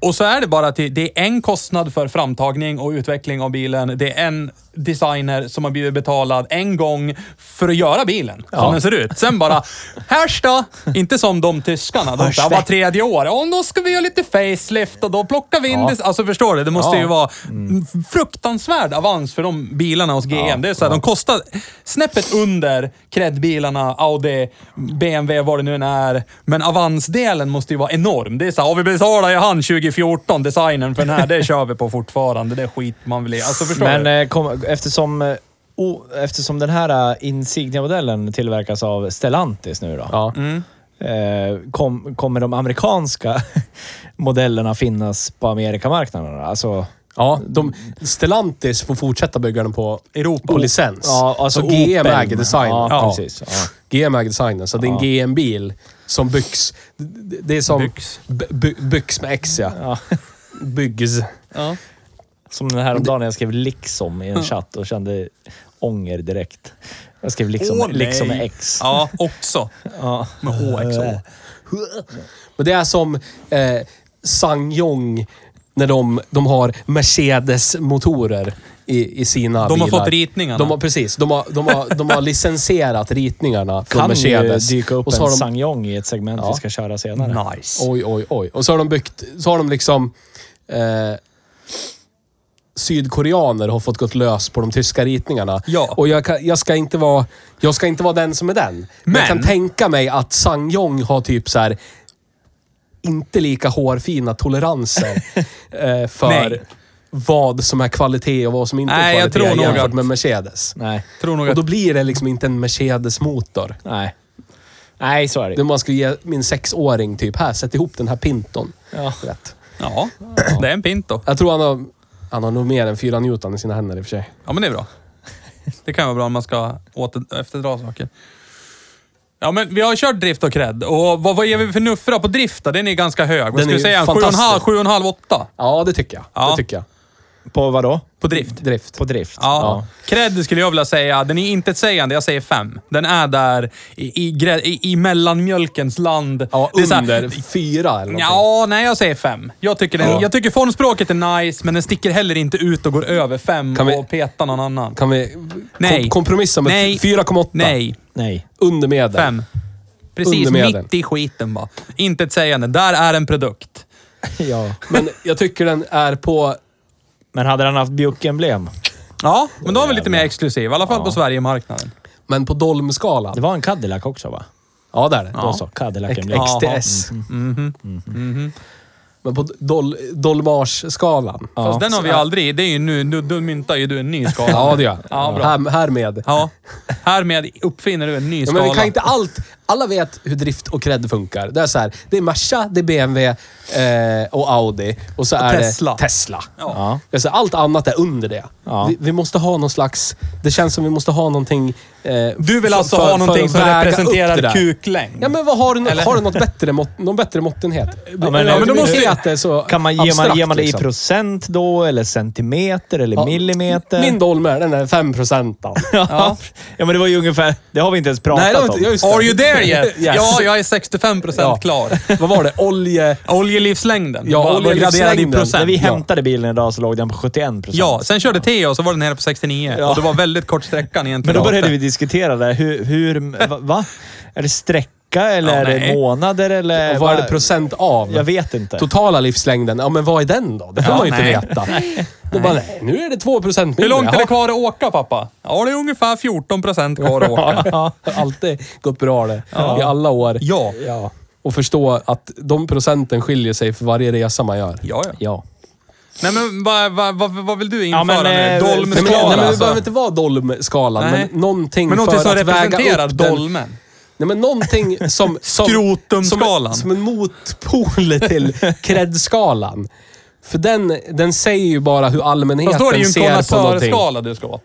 Speaker 1: Och så är det bara att det, det är en kostnad för framtagning och utveckling av bilen. Det är en designer som har blivit betalad en gång för att göra bilen, som den ser ut. Sen bara, härs då! Inte som de tyskarna. De
Speaker 2: Härs
Speaker 1: sa,
Speaker 2: det."
Speaker 1: var tredje år, och då ska vi göra lite facelift och då plockar vi in det. Alltså förstår du? Det måste
Speaker 3: Ja.
Speaker 1: ju vara
Speaker 2: Mm.
Speaker 1: fruktansvärd avans för de bilarna hos GM. det är så här, de kostar snäppet under kredbilarna, Audi, BMW, vad det nu än är. Men avansdelen måste ju vara enorm. Det är så här, "Ja, vi betalar ju han 2014, designen för den här, det kör vi på fortfarande. Det är skit man vill ge. Alltså förstår
Speaker 2: Men
Speaker 1: du?
Speaker 2: eh, kom, eftersom, eh, o, eftersom den här eh, Insignia-modellen tillverkas av Stellantis nu då.
Speaker 3: ja.
Speaker 2: Eh, kom, kommer de amerikanska modellerna finnas på Amerikamarknaden? då? Alltså,
Speaker 3: ja de, Stellantis får fortsätta bygga den på,
Speaker 1: Europa.
Speaker 3: på licens.
Speaker 2: ja, alltså
Speaker 3: så GM
Speaker 2: Opel.
Speaker 3: äger designen.
Speaker 2: Ja,
Speaker 3: Ja.
Speaker 2: precis. Ja.
Speaker 3: GM äger designen, så det är en
Speaker 2: Ja.
Speaker 3: GM-bil som byggs. Det det är som... Byggs. Byggs med X, ja.
Speaker 2: Ja.
Speaker 3: Byggs.
Speaker 1: Ja.
Speaker 2: Som den här om dagen jag skrev liksom i en chatt och kände ånger direkt. Jag skrev liksom,
Speaker 1: Åh, nej.
Speaker 2: liksom med X.
Speaker 1: Ja, också.
Speaker 2: Ja.
Speaker 1: Med HXO.
Speaker 3: Men det är som eh, Sangyong när de, de har Mercedes-motorer i, i sina
Speaker 1: De har
Speaker 3: bilar.
Speaker 1: fått ritningarna.
Speaker 3: De har, precis. De har, de har, de har licensierat ritningarna från
Speaker 2: Kan ju
Speaker 3: Mercedes.
Speaker 2: dyka upp
Speaker 3: och så har
Speaker 2: en
Speaker 3: de,
Speaker 2: Sangyong i ett segment
Speaker 3: Ja.
Speaker 2: vi ska köra senare.
Speaker 1: Nice.
Speaker 3: Oj, oj, oj. Och så har de byggt... Så har de liksom... Eh, Sydkoreaner har fått gått lös på de tyska ritningarna.
Speaker 1: Ja.
Speaker 3: Och jag, kan, jag, ska inte vara, jag ska inte vara den som är den. Men, jag
Speaker 1: Men-
Speaker 3: kan tänka mig att Sangyong har typ så här inte lika hårfina toleranser eh, för
Speaker 1: Nej.
Speaker 3: vad som är kvalitet och vad som inte
Speaker 1: Nej,
Speaker 3: är
Speaker 1: jag
Speaker 3: kvalitet
Speaker 1: tror nog
Speaker 3: jämfört
Speaker 1: att-
Speaker 3: med Mercedes.
Speaker 2: Nej,
Speaker 1: Tror nog
Speaker 3: Och
Speaker 1: att...
Speaker 3: då blir det liksom inte en Mercedes-motor.
Speaker 2: nej. Nej, så är det
Speaker 3: Det Man skulle ge min sexåring typ, här, sätt ihop den här Pinton.
Speaker 2: Ja.
Speaker 3: Rätt.
Speaker 1: Ja, det är en Pinto.
Speaker 3: Jag tror han har, han har nog mer än fyra Newton i sina händer i och för sig.
Speaker 1: Ja, men det är bra. Det kan vara bra om man ska åter, efterdra saker. Ja, men vi har kört drift och cred. Och vad, vad ger vi för nuffra på drift då? Den är ganska hög. Vad
Speaker 3: Den
Speaker 1: ska
Speaker 3: är
Speaker 1: vi säga? En
Speaker 3: fantastisk.
Speaker 1: 7,5, 7,5, 8
Speaker 3: Ja, det tycker jag.
Speaker 1: Ja.
Speaker 3: Det tycker jag.
Speaker 2: På vad då?
Speaker 1: på drift.
Speaker 3: Drift.
Speaker 2: På drift?
Speaker 1: Ja. Cred skulle jag vilja säga, den är inte sägande. Jag säger fem. Den är där i, i, grä- i, i mellanmjölkens land.
Speaker 3: Ja,
Speaker 1: Det är så här-
Speaker 3: under fyra eller någonting.
Speaker 1: Ja, nej jag säger fem. Jag tycker, den,
Speaker 3: Ja.
Speaker 1: jag tycker formspråket är nice, men den sticker heller inte ut och går över fem
Speaker 3: Kan vi-
Speaker 1: och petar någon annan.
Speaker 3: Kan vi
Speaker 1: Nej.
Speaker 3: kom, kompromissa med
Speaker 1: Nej.
Speaker 3: 4,8?
Speaker 1: Nej.
Speaker 2: Nej.
Speaker 3: Under medel.
Speaker 1: Fem. Precis
Speaker 3: Under medel.
Speaker 1: mitt i skiten bara. Inte ett sägande. Där är en produkt.
Speaker 2: Ja.
Speaker 3: Men jag tycker den är på...
Speaker 2: Men hade han haft Bjuck-emblem?
Speaker 1: Ja, men då är vi lite mer exklusiv. I alla fall på Sverigemarknaden.
Speaker 3: Men på dolmskalan.
Speaker 2: Det var en Cadillac också va?
Speaker 3: Ja, där är det.
Speaker 2: Ja.
Speaker 3: Ja.
Speaker 2: Så,
Speaker 3: X-
Speaker 2: Cadillac-emblem.
Speaker 3: XTS.
Speaker 1: Mm, Mm-hmm.
Speaker 3: Men på dol, dolmarsskalan. Ja.
Speaker 1: Fast den har vi aldrig. Det är ju nu, nu, du myntar ju du en ny skala.
Speaker 3: ja, det gör jag.
Speaker 1: Ja, bra.
Speaker 3: här, härmed.
Speaker 1: Ja. Härmed uppfinner du en ny
Speaker 3: Ja,
Speaker 1: skala.
Speaker 3: men vi kan inte allt... alla vet hur drift och cred funkar. Det är så här, det är Merca, det är BMW eh, och Audi och så är
Speaker 1: Tesla.
Speaker 3: det Tesla.
Speaker 2: Ja.
Speaker 3: Jag säger, allt annat är under det.
Speaker 2: Ja.
Speaker 3: Vi, vi måste ha någon slags... Det känns som vi måste ha någonting... eh,
Speaker 1: Du vill
Speaker 3: för-
Speaker 1: alltså
Speaker 3: för- för
Speaker 1: ha
Speaker 3: att
Speaker 1: någonting som
Speaker 3: väga upp det
Speaker 1: representerar
Speaker 3: där.
Speaker 1: kuklängd?
Speaker 3: Ja, men vad har du, nå-
Speaker 1: Eller?
Speaker 3: har du något bättre mått, någon bättre måttenhet?
Speaker 2: Ja, men-
Speaker 3: Eller,
Speaker 2: ja, men då
Speaker 3: du
Speaker 2: måste
Speaker 3: ser
Speaker 2: vi-
Speaker 3: att det är så
Speaker 2: Kan man ge, man,
Speaker 3: abstrakt,
Speaker 2: ge man det
Speaker 3: liksom.
Speaker 2: i procent då, eller centimeter, eller
Speaker 3: Ja,
Speaker 2: millimeter?
Speaker 3: Min dolmer, den är 5 procent.
Speaker 2: ja. ja, men det var ju ungefär... Det har vi inte ens pratat
Speaker 3: Nej, det har inte-
Speaker 2: om.
Speaker 3: jag just
Speaker 1: Are you there yet?
Speaker 3: Yes.
Speaker 1: Ja, jag är 65 procent
Speaker 3: Ja.
Speaker 1: klar.
Speaker 3: Vad var det? Olje...
Speaker 1: Oljelivslängden.
Speaker 3: Ja,
Speaker 1: Vad- vad är
Speaker 3: oljelivslängden.
Speaker 1: graderad i procent?
Speaker 2: När vi
Speaker 3: Ja.
Speaker 2: hämtade bilen idag så låg den på 71 procent.
Speaker 1: Ja, sen körde Theo och så var den nere på 69.
Speaker 3: Ja.
Speaker 1: Och det var väldigt kort sträckan
Speaker 2: Men
Speaker 1: egentligen.
Speaker 2: då började vi diskutera det. här. Hur... hur va, va? Är det sträcka eller
Speaker 1: Ja,
Speaker 2: är det
Speaker 1: nej.
Speaker 2: månader eller...
Speaker 3: Och eh, vad är
Speaker 2: va?
Speaker 3: det procent av?
Speaker 2: Jag vet inte.
Speaker 3: Totala livslängden, ja men vad är den då? Det får
Speaker 1: Ja,
Speaker 3: man ju inte
Speaker 1: nej.
Speaker 3: veta. Då bara, nej, nu är det 2 procent mindre.
Speaker 1: Hur långt är
Speaker 3: Jaha.
Speaker 1: det kvar att åka pappa? Ja, det är ungefär 14 procent kvar att åka.
Speaker 3: Ja, det har alltid gått bra det. I alla år.
Speaker 1: Ja.
Speaker 3: Och förstå att de procenten skiljer sig för varje resa man gör.
Speaker 1: Ja, ja.
Speaker 2: Ja.
Speaker 1: Nej, men vad vad vad vad vill du införa
Speaker 2: men,
Speaker 1: nu?
Speaker 2: eh,
Speaker 3: Nej, men, nej,
Speaker 1: Dolmskala
Speaker 3: men det behöver
Speaker 1: alltså?
Speaker 3: inte vara dolmskalan,
Speaker 1: Nej.
Speaker 3: men någonting
Speaker 1: Men någonting
Speaker 3: för
Speaker 1: som
Speaker 3: att väga
Speaker 1: representerar
Speaker 3: upp den-
Speaker 1: dolmen.
Speaker 3: Nej, men någonting som... som
Speaker 1: Skrotumskalan.
Speaker 3: Som, som en motpol till kredskalan. För den, den säger ju bara hur
Speaker 1: Fast då är det ju
Speaker 3: allmänheten
Speaker 1: en
Speaker 3: ser på någonting.
Speaker 1: konnässörskala du ska åt.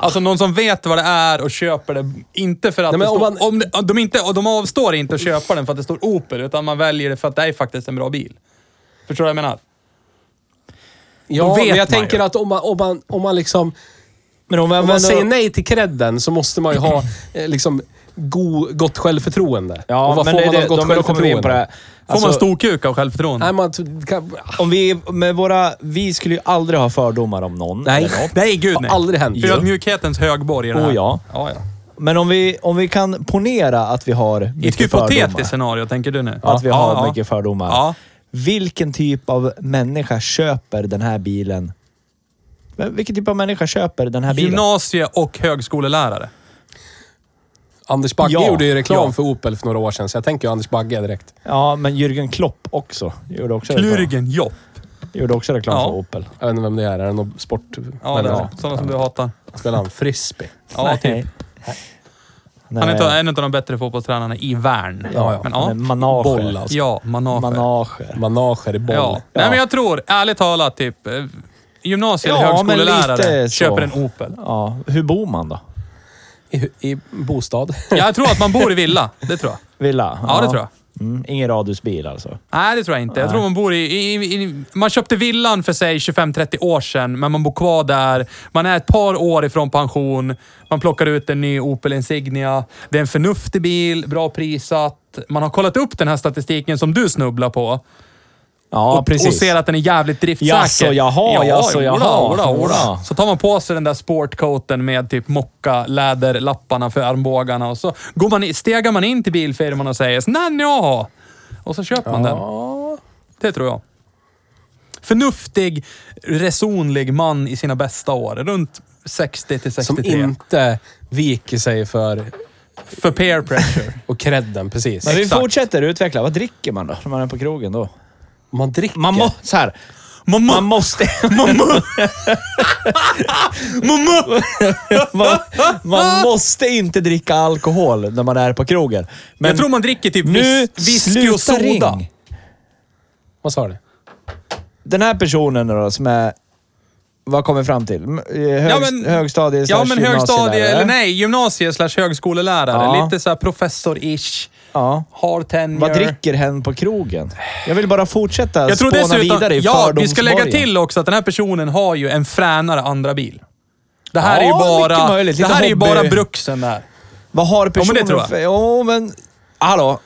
Speaker 1: Alltså någon som vet vad det är och köper det. Inte för att
Speaker 3: Nej, men
Speaker 1: det
Speaker 3: om
Speaker 1: står,
Speaker 3: man-
Speaker 1: om det, om de, inte, och de avstår inte att köpa den för att det står Opel, utan man väljer det för att det är faktiskt en bra bil. Förstår du vad jag menar?
Speaker 3: Ja,
Speaker 1: Då vet
Speaker 3: men
Speaker 1: man
Speaker 3: jag tänker
Speaker 1: ju.
Speaker 3: att om man, om man, om man liksom...
Speaker 2: Men om,
Speaker 3: Om
Speaker 2: men
Speaker 3: man
Speaker 2: då-
Speaker 3: säger nej till credden så måste man ju ha eh, liksom go, gott självförtroende.
Speaker 2: Ja,
Speaker 3: och vad
Speaker 2: men
Speaker 3: får
Speaker 2: det,
Speaker 3: man
Speaker 2: det,
Speaker 3: av gott
Speaker 2: de, då kommer vi in på det här.
Speaker 3: självförtroende?
Speaker 1: Får
Speaker 2: Alltså-
Speaker 1: man storkuka och självförtroende?
Speaker 3: Nej, man t- kan,
Speaker 2: Om vi, med våra, vi skulle ju aldrig ha fördomar om någon.
Speaker 3: nej.
Speaker 2: Eller något.
Speaker 1: Nej, gud
Speaker 3: Har
Speaker 1: nej.
Speaker 3: aldrig hänt.
Speaker 1: Ödmjukhetens högborg är det här.
Speaker 2: Oh, ja.
Speaker 1: ja, ja.
Speaker 2: Men om vi, om vi kan ponera att vi har
Speaker 1: I ett
Speaker 2: mycket
Speaker 1: hypotetiskt
Speaker 2: fördomar.
Speaker 1: scenario, tänker du nu?
Speaker 2: Att vi har
Speaker 1: ja,
Speaker 2: mycket fördomar.
Speaker 1: Ja.
Speaker 2: Vilken typ av människa köper den här bilen? Vilken typ av människa köper den här bilen?
Speaker 1: Gymnasie och högskolelärare.
Speaker 3: Anders Bagge
Speaker 2: Ja,
Speaker 3: gjorde ju reklam
Speaker 2: ja.
Speaker 3: för Opel för några år sedan, så jag tänker ju Anders Bagge direkt.
Speaker 2: Ja, men Jürgen Klopp också. Gjorde också reklam,
Speaker 1: Klürgen Jopp.
Speaker 2: gjorde också reklam
Speaker 1: Ja.
Speaker 2: för Opel.
Speaker 3: Jag vet inte vem det är. Är det någon sport...
Speaker 1: Ja, det
Speaker 3: men,
Speaker 1: är sådana som du hatar.
Speaker 3: Spelar han frisbee?
Speaker 1: Ja, typ.
Speaker 2: Nej.
Speaker 1: Han är
Speaker 2: Nej.
Speaker 1: inte- en av de bättre fotbollstränarna i världen.
Speaker 3: Ja, ja.
Speaker 1: Men,
Speaker 2: Han
Speaker 1: ja.
Speaker 2: är manager.
Speaker 3: Boll alltså.
Speaker 1: ja manager.
Speaker 2: Manager.
Speaker 3: Manager i boll.
Speaker 1: Ja. Nej, men jag tror, ärligt talat, typ eh, gymnasie eller
Speaker 2: Ja, men
Speaker 1: högskolelärare
Speaker 2: lite så.
Speaker 1: köper en Opel.
Speaker 2: Ja. Hur bor man då?
Speaker 3: I, I bostad.
Speaker 1: Jag tror att man bor i villa. Det tror jag.
Speaker 2: Villa?
Speaker 1: Ja, det tror jag.
Speaker 2: Mm, ingen radhusbil alltså.
Speaker 1: Nej, det tror jag inte. Jag tror man bor i... i, i man köpte villan för sig 25-30 år sedan, men man bor kvar där. Man är ett par år ifrån pension. Man plockar ut en ny Opel Insignia. Det är en förnuftig bil, bra prissatt. Man har kollat upp den här statistiken som du snubblar på.
Speaker 2: Ja,
Speaker 1: och, och ser att den är jävligt driftsäker.
Speaker 2: Jaså, jaha, jaså,
Speaker 1: jodå,
Speaker 2: jaha.
Speaker 1: jodå, jodå.
Speaker 2: Jodå.
Speaker 1: Så tar man på sig den där sportcoaten med typ mocka läderlapparna för armbågarna och så går man, i- stegar man in till bilfirman och säger “Nanne, ja!” Och så köper man den. Det tror jag. Förnuftig, resonlig man i sina bästa år. Runt 60 till
Speaker 3: Som
Speaker 1: 63.
Speaker 3: inte viker sig för...
Speaker 1: För peer pressure.
Speaker 3: Och credden, precis.
Speaker 2: Men vi
Speaker 1: Exakt.
Speaker 2: fortsätter utveckla. Vad dricker man då när man är på krogen då?
Speaker 3: Man dricker.
Speaker 2: Man, må, så här,
Speaker 1: Mamma!
Speaker 2: man måste... Mamma!
Speaker 1: mamma!
Speaker 2: Man, man måste inte dricka alkohol när man är på krogen. Men
Speaker 1: Jag tror man dricker typ
Speaker 2: nu
Speaker 1: vis- whisky och
Speaker 2: sluta
Speaker 1: soda.
Speaker 2: ring.
Speaker 3: Vad sa du?
Speaker 2: Den här personen då som är... Vad kommer vi fram till? M- eh, Hög,
Speaker 1: Ja, men-
Speaker 2: högstadie
Speaker 1: Ja, men
Speaker 2: slash
Speaker 1: högstadie,
Speaker 2: gymnasielärare.
Speaker 1: eller nej, gymnasie slash högskolelärare.
Speaker 2: Ja.
Speaker 1: Lite såhär professor-ish.
Speaker 2: Ja.
Speaker 1: Har tenure.
Speaker 2: Vad dricker hen på krogen? Jag vill bara fortsätta
Speaker 1: Jag tror
Speaker 2: spåna
Speaker 1: dessutom...
Speaker 2: vidare i
Speaker 1: Ja, vi ska lägga
Speaker 2: fördomsborgen.
Speaker 1: till också att den här personen har ju en fränare andra bil. Det här är ju
Speaker 2: Ja,
Speaker 1: bara...
Speaker 2: mycket möjligt.
Speaker 1: det
Speaker 2: Lite
Speaker 1: här är ju
Speaker 2: hobby.
Speaker 1: bara bruksen där.
Speaker 2: Vad har
Speaker 1: men det
Speaker 2: personen
Speaker 1: tror jag.
Speaker 2: för... Ja, men... Hallå.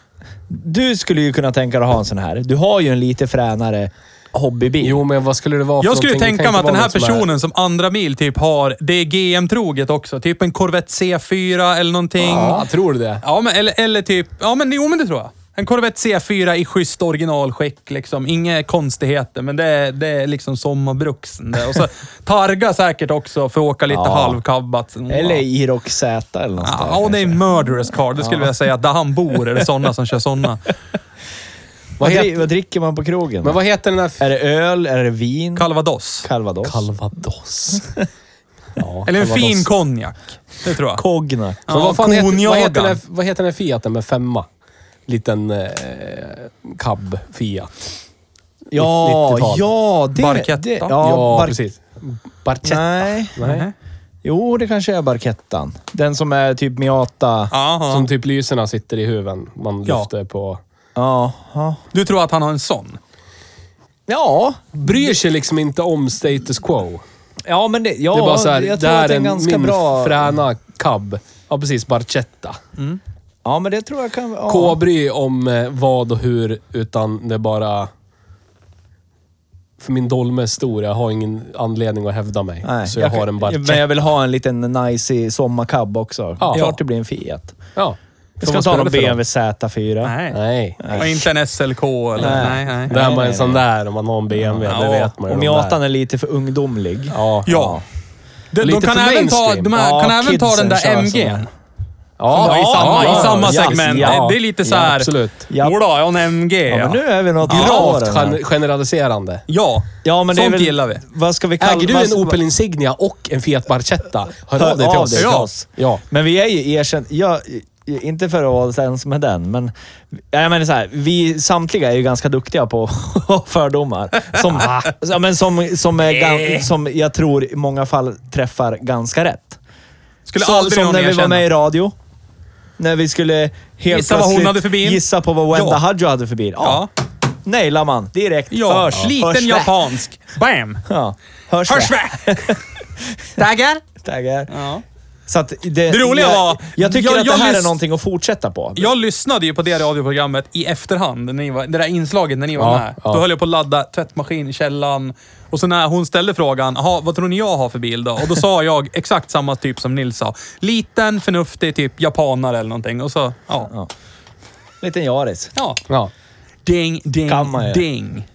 Speaker 2: Du skulle ju kunna tänka dig att ha en sån här. Du har ju en lite fränare hobbybil.
Speaker 3: Jo, men vad skulle det vara för
Speaker 1: Jag skulle
Speaker 3: någonting? Det
Speaker 1: tänka
Speaker 3: kan
Speaker 1: mig att
Speaker 3: inte
Speaker 1: den här
Speaker 3: vara något som är-
Speaker 1: personen som andra bil typ har, det är GM-troget också. Typ en Corvette C4 eller någonting.
Speaker 3: Ja, tror du det?
Speaker 1: Ja, men, eller, eller typ... Ja, men jo, men det tror jag. En Corvette C4 i schysst originalskick. Liksom. Inga konstigheter, men det är, det är liksom sommarbruksen. Det. Och så Targa säkert också för att åka lite
Speaker 2: Ja.
Speaker 1: halvkabbat.
Speaker 2: Eller Iroc Z eller något sånt där,
Speaker 1: Ja, och det är en murderous car. Det skulle jag säga att där han bor är det sådana som kör sådana.
Speaker 2: vad,
Speaker 3: Vad
Speaker 2: dri-
Speaker 3: heter-
Speaker 2: vad dricker man på krogen?
Speaker 3: Men vad heter den här...
Speaker 2: Är det öl? Är det vin?
Speaker 1: Calvados.
Speaker 2: Calvados?
Speaker 3: Calvados. Ja,
Speaker 1: Eller en
Speaker 3: han var
Speaker 1: fin
Speaker 3: loss.
Speaker 1: konjak. Det tror jag.
Speaker 2: Kognak.
Speaker 3: Men vad, fan heter, vad, heter den
Speaker 1: konjagan.
Speaker 3: här, vad heter den här Fiaten med femma? Liten eh, cab Fiat.
Speaker 2: Ja,
Speaker 3: 90-tal.
Speaker 2: ja, det...
Speaker 1: Barketta.
Speaker 2: Det, ja,
Speaker 3: Ja,
Speaker 2: bark-
Speaker 3: precis. Barchetta.
Speaker 2: Nej.
Speaker 3: Nej.
Speaker 2: Jo, det kanske är Barkettan. Den som är typ Miata.
Speaker 1: Jaha.
Speaker 3: Som typ lyserna sitter i huven. Man
Speaker 1: Ja.
Speaker 3: lyfter på...
Speaker 2: Ja. Ja.
Speaker 1: Du tror att han har en sån?
Speaker 2: ja.
Speaker 3: Bryr sig liksom inte om status quo.
Speaker 2: Ja, men det, ja,
Speaker 3: det är bara så här,
Speaker 2: jag
Speaker 3: det
Speaker 2: tror att
Speaker 3: här
Speaker 2: det
Speaker 3: är
Speaker 2: är
Speaker 3: en,
Speaker 2: ganska
Speaker 3: min
Speaker 2: bra.
Speaker 3: fräna cab. Ja, precis. Barchetta.
Speaker 2: Ja, men det tror jag kan... Ja.
Speaker 3: K bry om eh, vad och hur, utan det är bara... För min dolme är stor, jag har ingen anledning att hävda mig.
Speaker 2: Nej,
Speaker 3: så jag, har en
Speaker 2: Men
Speaker 3: barchetta.
Speaker 2: jag vill ha en liten nice sommarkab också.
Speaker 3: Ja.
Speaker 2: Klart det blir en Fiat.
Speaker 3: Ja.
Speaker 2: Jag ska
Speaker 1: vad
Speaker 2: inte ha
Speaker 1: spelar
Speaker 2: någon
Speaker 1: det för
Speaker 2: BMW Z4.
Speaker 1: Nej.
Speaker 3: Nej.
Speaker 1: Och inte en SLK eller? Nej,
Speaker 2: Nej.
Speaker 1: nej.
Speaker 3: Där
Speaker 2: Nej,
Speaker 3: man en
Speaker 2: nej,
Speaker 3: sån där om man har en BMW,
Speaker 1: Ja,
Speaker 3: det vet man ju.
Speaker 2: Och
Speaker 3: de
Speaker 2: Miatan
Speaker 3: där.
Speaker 2: är lite för ungdomlig.
Speaker 3: Ja.
Speaker 1: Ja. De, de
Speaker 3: Lite
Speaker 1: kan
Speaker 3: för
Speaker 1: även ta,
Speaker 3: mainstream.
Speaker 1: de här, kan
Speaker 2: Ja,
Speaker 1: även ta den
Speaker 2: kidsen
Speaker 1: där
Speaker 2: kör
Speaker 1: MG'n.
Speaker 2: sådär.
Speaker 1: Ja, i samma,
Speaker 2: ja,
Speaker 1: i samma
Speaker 2: ja,
Speaker 1: segment.
Speaker 2: ja.
Speaker 1: Det- det är lite så här...
Speaker 3: Ja, absolut.
Speaker 2: Ja.
Speaker 1: Jodå, jag har en MG.
Speaker 2: Ja,
Speaker 1: Ja,
Speaker 2: men nu är vi något bra
Speaker 3: Gravt
Speaker 2: den här.
Speaker 3: gen- generaliserande.
Speaker 1: ja.
Speaker 2: Ja, men det är
Speaker 1: sånt
Speaker 2: väl,
Speaker 1: gillar vi.
Speaker 2: Vad ska vi kalla
Speaker 3: Äger du
Speaker 2: vad-
Speaker 3: en Opel Insignia och en Fiat Barchetta, hör
Speaker 2: Hör
Speaker 3: av dig till
Speaker 2: av
Speaker 3: oss.
Speaker 2: dig till
Speaker 3: Ja.
Speaker 2: oss.
Speaker 3: Ja.
Speaker 2: Men vi är ju erkänt... Jag, inte för att vara ens med den, men... Jag menar så här, vi samtliga är ju ganska duktiga på fördomar. Som, ja, men som, som, är, gan-
Speaker 1: Eh.
Speaker 2: som jag tror i många fall träffar ganska rätt.
Speaker 1: Skulle
Speaker 2: Så,
Speaker 1: aldrig
Speaker 2: som
Speaker 1: någon
Speaker 2: när vi var
Speaker 1: erkänna.
Speaker 2: med i radio. När vi skulle helt
Speaker 1: Gissa vad hon
Speaker 2: plötsligt
Speaker 1: hade för bil.
Speaker 2: gissa på vad Wenda
Speaker 1: Ja.
Speaker 2: Hadjo hade för bil. Ja.
Speaker 1: Ja.
Speaker 2: Nailar man direkt.
Speaker 1: Ja.
Speaker 2: Hörs.
Speaker 1: Liten
Speaker 2: Hörs det.
Speaker 1: japansk. Bam!
Speaker 2: Ja. Hörs,
Speaker 1: Hörs
Speaker 2: det.
Speaker 1: vi! Taggar?
Speaker 2: Taggar.
Speaker 1: Ja.
Speaker 2: Så att det,
Speaker 1: Det roliga
Speaker 2: jag,
Speaker 1: var-
Speaker 2: Jag tycker
Speaker 1: jag-
Speaker 2: att
Speaker 1: jag
Speaker 2: det här är
Speaker 1: lys-
Speaker 2: någonting att fortsätta på.
Speaker 1: Jag lyssnade ju på det radioprogrammet i efterhand, när ni var, det där inslaget när ni var
Speaker 3: Ja,
Speaker 1: med.
Speaker 3: ja.
Speaker 1: Då höll jag på att ladda tvättmaskin i källaren. Och så när hon ställde frågan, "Jaha, vad tror ni jag har för bil då? Och då sa jag exakt samma typ som Nils sa. Liten, förnuftig, typ japanare eller någonting. Och så, ja.
Speaker 2: Liten Jaris.
Speaker 1: Ja.
Speaker 3: Ja.
Speaker 1: Ding, ding,
Speaker 2: Kan man ju.
Speaker 1: ding.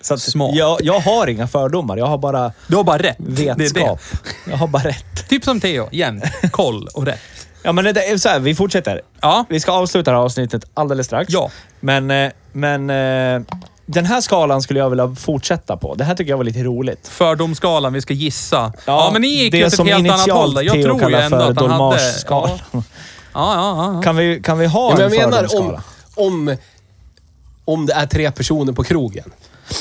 Speaker 2: Så att
Speaker 1: Smart.
Speaker 2: Jag, jag har inga fördomar. Jag har bara
Speaker 1: Du har bara rätt. Det är
Speaker 2: vetskap.
Speaker 1: det.
Speaker 2: Jag har bara rätt.
Speaker 1: Typ som Theo, jämnt. Koll och rätt.
Speaker 2: Ja, men det är så här, vi fortsätter.
Speaker 1: Ja.
Speaker 2: Vi ska avsluta det här avsnittet alldeles strax.
Speaker 1: Ja.
Speaker 2: Men, eh, men eh, den här skalan skulle jag vilja fortsätta på. Det här tycker jag var lite roligt.
Speaker 1: Fördomsskalan, vi ska gissa. Ja, men ni gick
Speaker 2: det
Speaker 1: ju åt ett
Speaker 2: som
Speaker 1: helt annat
Speaker 2: initialt
Speaker 1: håll där. Jag
Speaker 2: Theo
Speaker 1: tror ju
Speaker 2: kallar
Speaker 1: ändå
Speaker 2: för
Speaker 1: att han hade... Ja,
Speaker 2: Dolmageskalan.
Speaker 1: ja, ja. ja.
Speaker 2: Kan, vi, kan vi ha
Speaker 3: Ja, men
Speaker 2: en
Speaker 3: jag menar om,
Speaker 2: fördomsskala?
Speaker 3: om, om det är tre personer på krogen.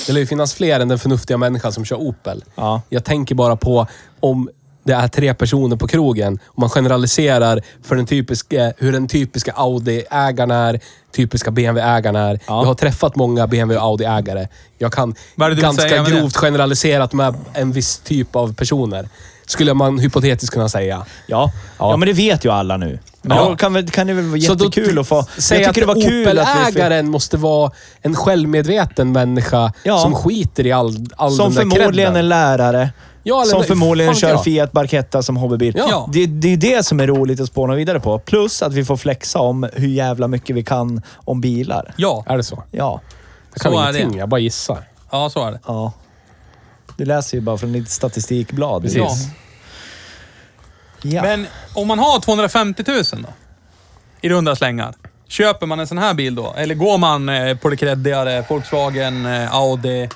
Speaker 3: Det lär ju finnas fler än den förnuftiga människan som kör Opel.
Speaker 2: Ja.
Speaker 3: Jag tänker bara på om det är tre personer på krogen och man generaliserar för den typiska, hur den typiska Audi-ägaren är, typiska BMW-ägaren är. Jag har träffat många BMW och Audi-ägare. Jag kan
Speaker 1: Vad är det du vill
Speaker 3: ganska
Speaker 1: säga med det?
Speaker 3: grovt generaliserat med en viss typ av personer. Skulle man hypotetiskt kunna säga.
Speaker 2: Ja. Ja. men det vet ju alla nu. Men
Speaker 3: Ja.
Speaker 2: då kan, väl- kan det väl vara
Speaker 3: Så då
Speaker 2: jättekul att få...
Speaker 3: Säg
Speaker 2: jag
Speaker 3: att
Speaker 2: tycker det var kul att vi fick-
Speaker 3: Opel-ägaren måste vara en självmedveten människa
Speaker 2: Ja.
Speaker 3: som skiter i all, all
Speaker 2: Som
Speaker 3: den där
Speaker 2: förmodligen är
Speaker 3: credden.
Speaker 2: lärare.
Speaker 3: Ja, eller-
Speaker 2: som förmodligen
Speaker 3: fan vet
Speaker 2: kör
Speaker 3: jag.
Speaker 2: Fiat Barketta som hobbybil.
Speaker 3: Ja.
Speaker 2: Det, det är det som är roligt att spåna vidare på. Plus att vi får flexa om hur jävla mycket vi kan om bilar.
Speaker 1: Ja,
Speaker 3: Är det så?
Speaker 2: Ja.
Speaker 3: Jag kan
Speaker 1: Så är
Speaker 3: ingenting,
Speaker 1: det.
Speaker 3: jag bara gissar.
Speaker 1: ja, så är det.
Speaker 2: ja. Du läser ju bara från ditt statistikblad.
Speaker 3: Precis.
Speaker 2: Ja. Ja.
Speaker 1: Men om man har 250 000 då? I runda slängar. Köper man en sån här bil då? Eller går man eh, på det kreddigare? Volkswagen, eh, Audi?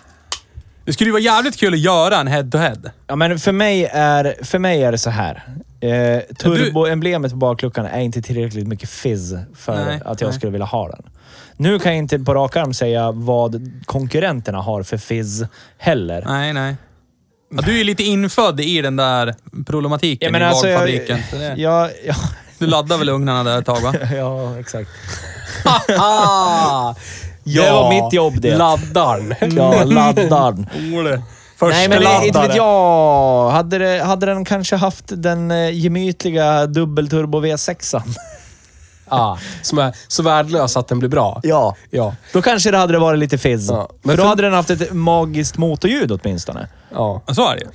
Speaker 1: Det skulle ju vara jävligt kul att göra en head-to-head.
Speaker 2: Ja, men för mig är, för mig är det så här. Eh, Turboemblemet på bakluckan är inte tillräckligt mycket fizz för
Speaker 1: Nej,
Speaker 2: att jag
Speaker 1: nej.
Speaker 2: skulle vilja ha den. Nu kan jag inte på rak arm säga vad konkurrenterna har för fizz heller.
Speaker 1: Nej, nej. Ja, du är ju lite infödd i den där problematiken
Speaker 2: Ja, men
Speaker 1: i
Speaker 2: alltså, jag,
Speaker 1: valfabriken. Så det-
Speaker 2: ja, ja,
Speaker 1: Du laddar väl ugnarna där ett tag va?
Speaker 2: ja, exakt.
Speaker 3: Ah,
Speaker 2: Det var mitt jobb det.
Speaker 3: Laddarn.
Speaker 2: Ja, laddaren.
Speaker 1: Ole.
Speaker 2: Nej, men
Speaker 1: laddare.
Speaker 2: det- inte vet jag. Hade, det, hade den kanske haft den eh, gemytliga dubbelturbo V6an?
Speaker 3: Ah, som är så värdelös att den blir bra.
Speaker 2: Ja.
Speaker 3: Ja.
Speaker 2: Då kanske det hade det varit lite fizz.
Speaker 3: Ja, men
Speaker 2: Men för då
Speaker 3: för-
Speaker 2: hade den haft ett magiskt motorljud åtminstone.
Speaker 3: ja.
Speaker 1: Ja, Så är det ju.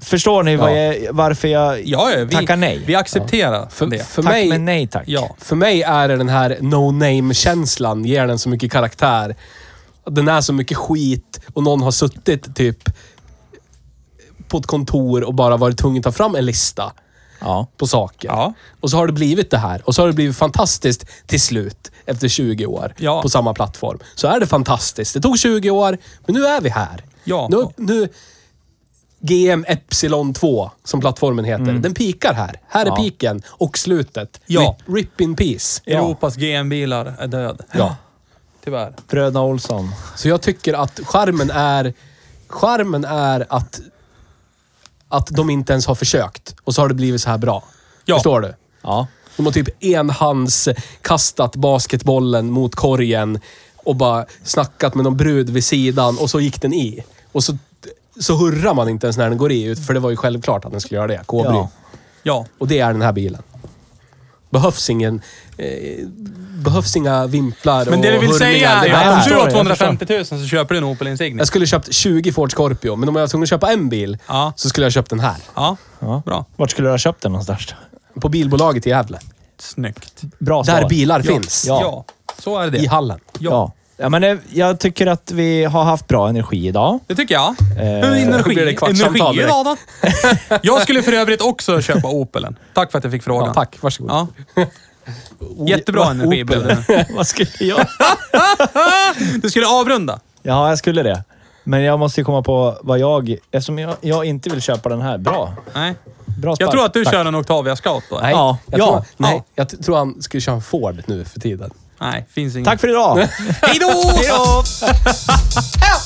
Speaker 2: Förstår ni vad
Speaker 3: Ja.
Speaker 2: jag, varför jag
Speaker 1: Ja, ja, vi,
Speaker 2: tackar nej?
Speaker 1: Vi accepterar
Speaker 3: För,
Speaker 1: det.
Speaker 3: för,
Speaker 2: tack,
Speaker 3: mig,
Speaker 2: men nej tack.
Speaker 1: Ja.
Speaker 3: för mig är det den här no-name-känslan, ger den så mycket karaktär. Den är så mycket skit och någon har suttit typ på ett kontor och bara varit tvungen att ta fram en lista.
Speaker 2: Ja.
Speaker 3: på saker.
Speaker 1: Ja.
Speaker 3: Och så har det blivit det här. Och så har det blivit fantastiskt till slut, efter 20 år,
Speaker 1: Ja.
Speaker 3: på samma plattform. Så är det fantastiskt. Det tog 20 år, men nu är vi här.
Speaker 1: Ja.
Speaker 3: Nu, nu, GM Epsilon 2, som plattformen heter, den pikar här. Här är piken och slutet.
Speaker 1: Mm. Ja.
Speaker 3: Rip, rip in peace.
Speaker 2: Ja.
Speaker 1: Europas GM-bilar är död.
Speaker 3: Ja.
Speaker 1: Tyvärr.
Speaker 2: Bröderna Olsson.
Speaker 3: Så jag tycker att charmen är, charmen är att, att de inte ens har försökt. Och så har det blivit så här bra.
Speaker 1: Ja.
Speaker 3: Förstår du?
Speaker 2: Ja.
Speaker 3: De har typ enhands kastat basketbollen mot korgen och bara snackat med någon brud vid sidan och så gick den i. Och så, så hurrar man inte ens när den går i, för det var ju självklart att den skulle göra det. Kobry.
Speaker 2: Ja.
Speaker 1: Ja.
Speaker 3: Och det är den här bilen. Behövs ingen... Eh, behövs inga vimplar
Speaker 1: Men det du
Speaker 3: och
Speaker 1: vill
Speaker 3: hurrningar.
Speaker 1: säga är
Speaker 3: bara
Speaker 1: att om
Speaker 3: där.
Speaker 1: du
Speaker 2: förstår
Speaker 1: har
Speaker 2: det,
Speaker 1: 250 000 så köper du en Opel Insignia.
Speaker 3: Jag skulle köpt 20 Ford Scorpio, men om jag var tvungen att köpa en bil
Speaker 1: Ja.
Speaker 3: så skulle jag köpt den här.
Speaker 1: Ja,
Speaker 2: Ja.
Speaker 1: bra.
Speaker 2: Vart skulle du ha köpt den någonstans?
Speaker 3: På bilbolaget i Gävle.
Speaker 1: Snyggt.
Speaker 2: Bra svar.
Speaker 3: Där bilar finns.
Speaker 2: Ja.
Speaker 1: Ja. så är det.
Speaker 3: I hallen.
Speaker 2: Ja. ja, men eh, jag tycker att vi har haft bra energi idag.
Speaker 1: Det tycker jag. Men
Speaker 3: då
Speaker 1: energi,
Speaker 3: blir det kvartssamtal
Speaker 1: energi idag då? Jag skulle för övrigt också köpa Opelen. Tack för att jag fick frågan.
Speaker 3: Ja, tack, varsågod.
Speaker 1: Ja. Jättebra energi blev det nu.
Speaker 2: Vad skulle jag?
Speaker 1: Du skulle avrunda.
Speaker 2: Ja, jag skulle det. Men jag måste ju komma på vad jag... Eftersom jag, jag inte vill köpa den här. Bra.
Speaker 1: Nej.
Speaker 2: Bra spark.
Speaker 1: Jag tror att du
Speaker 2: Tack.
Speaker 1: kör en Octavia Scout då.
Speaker 3: Nej,
Speaker 2: Ja.
Speaker 3: jag,
Speaker 2: Ja.
Speaker 3: Tror, nej
Speaker 1: Ja.
Speaker 3: jag t- tror han skulle köra en Ford nu för tiden.
Speaker 1: Nej, finns ingen.
Speaker 2: Tack för idag!
Speaker 1: Hej då!
Speaker 2: Hej då!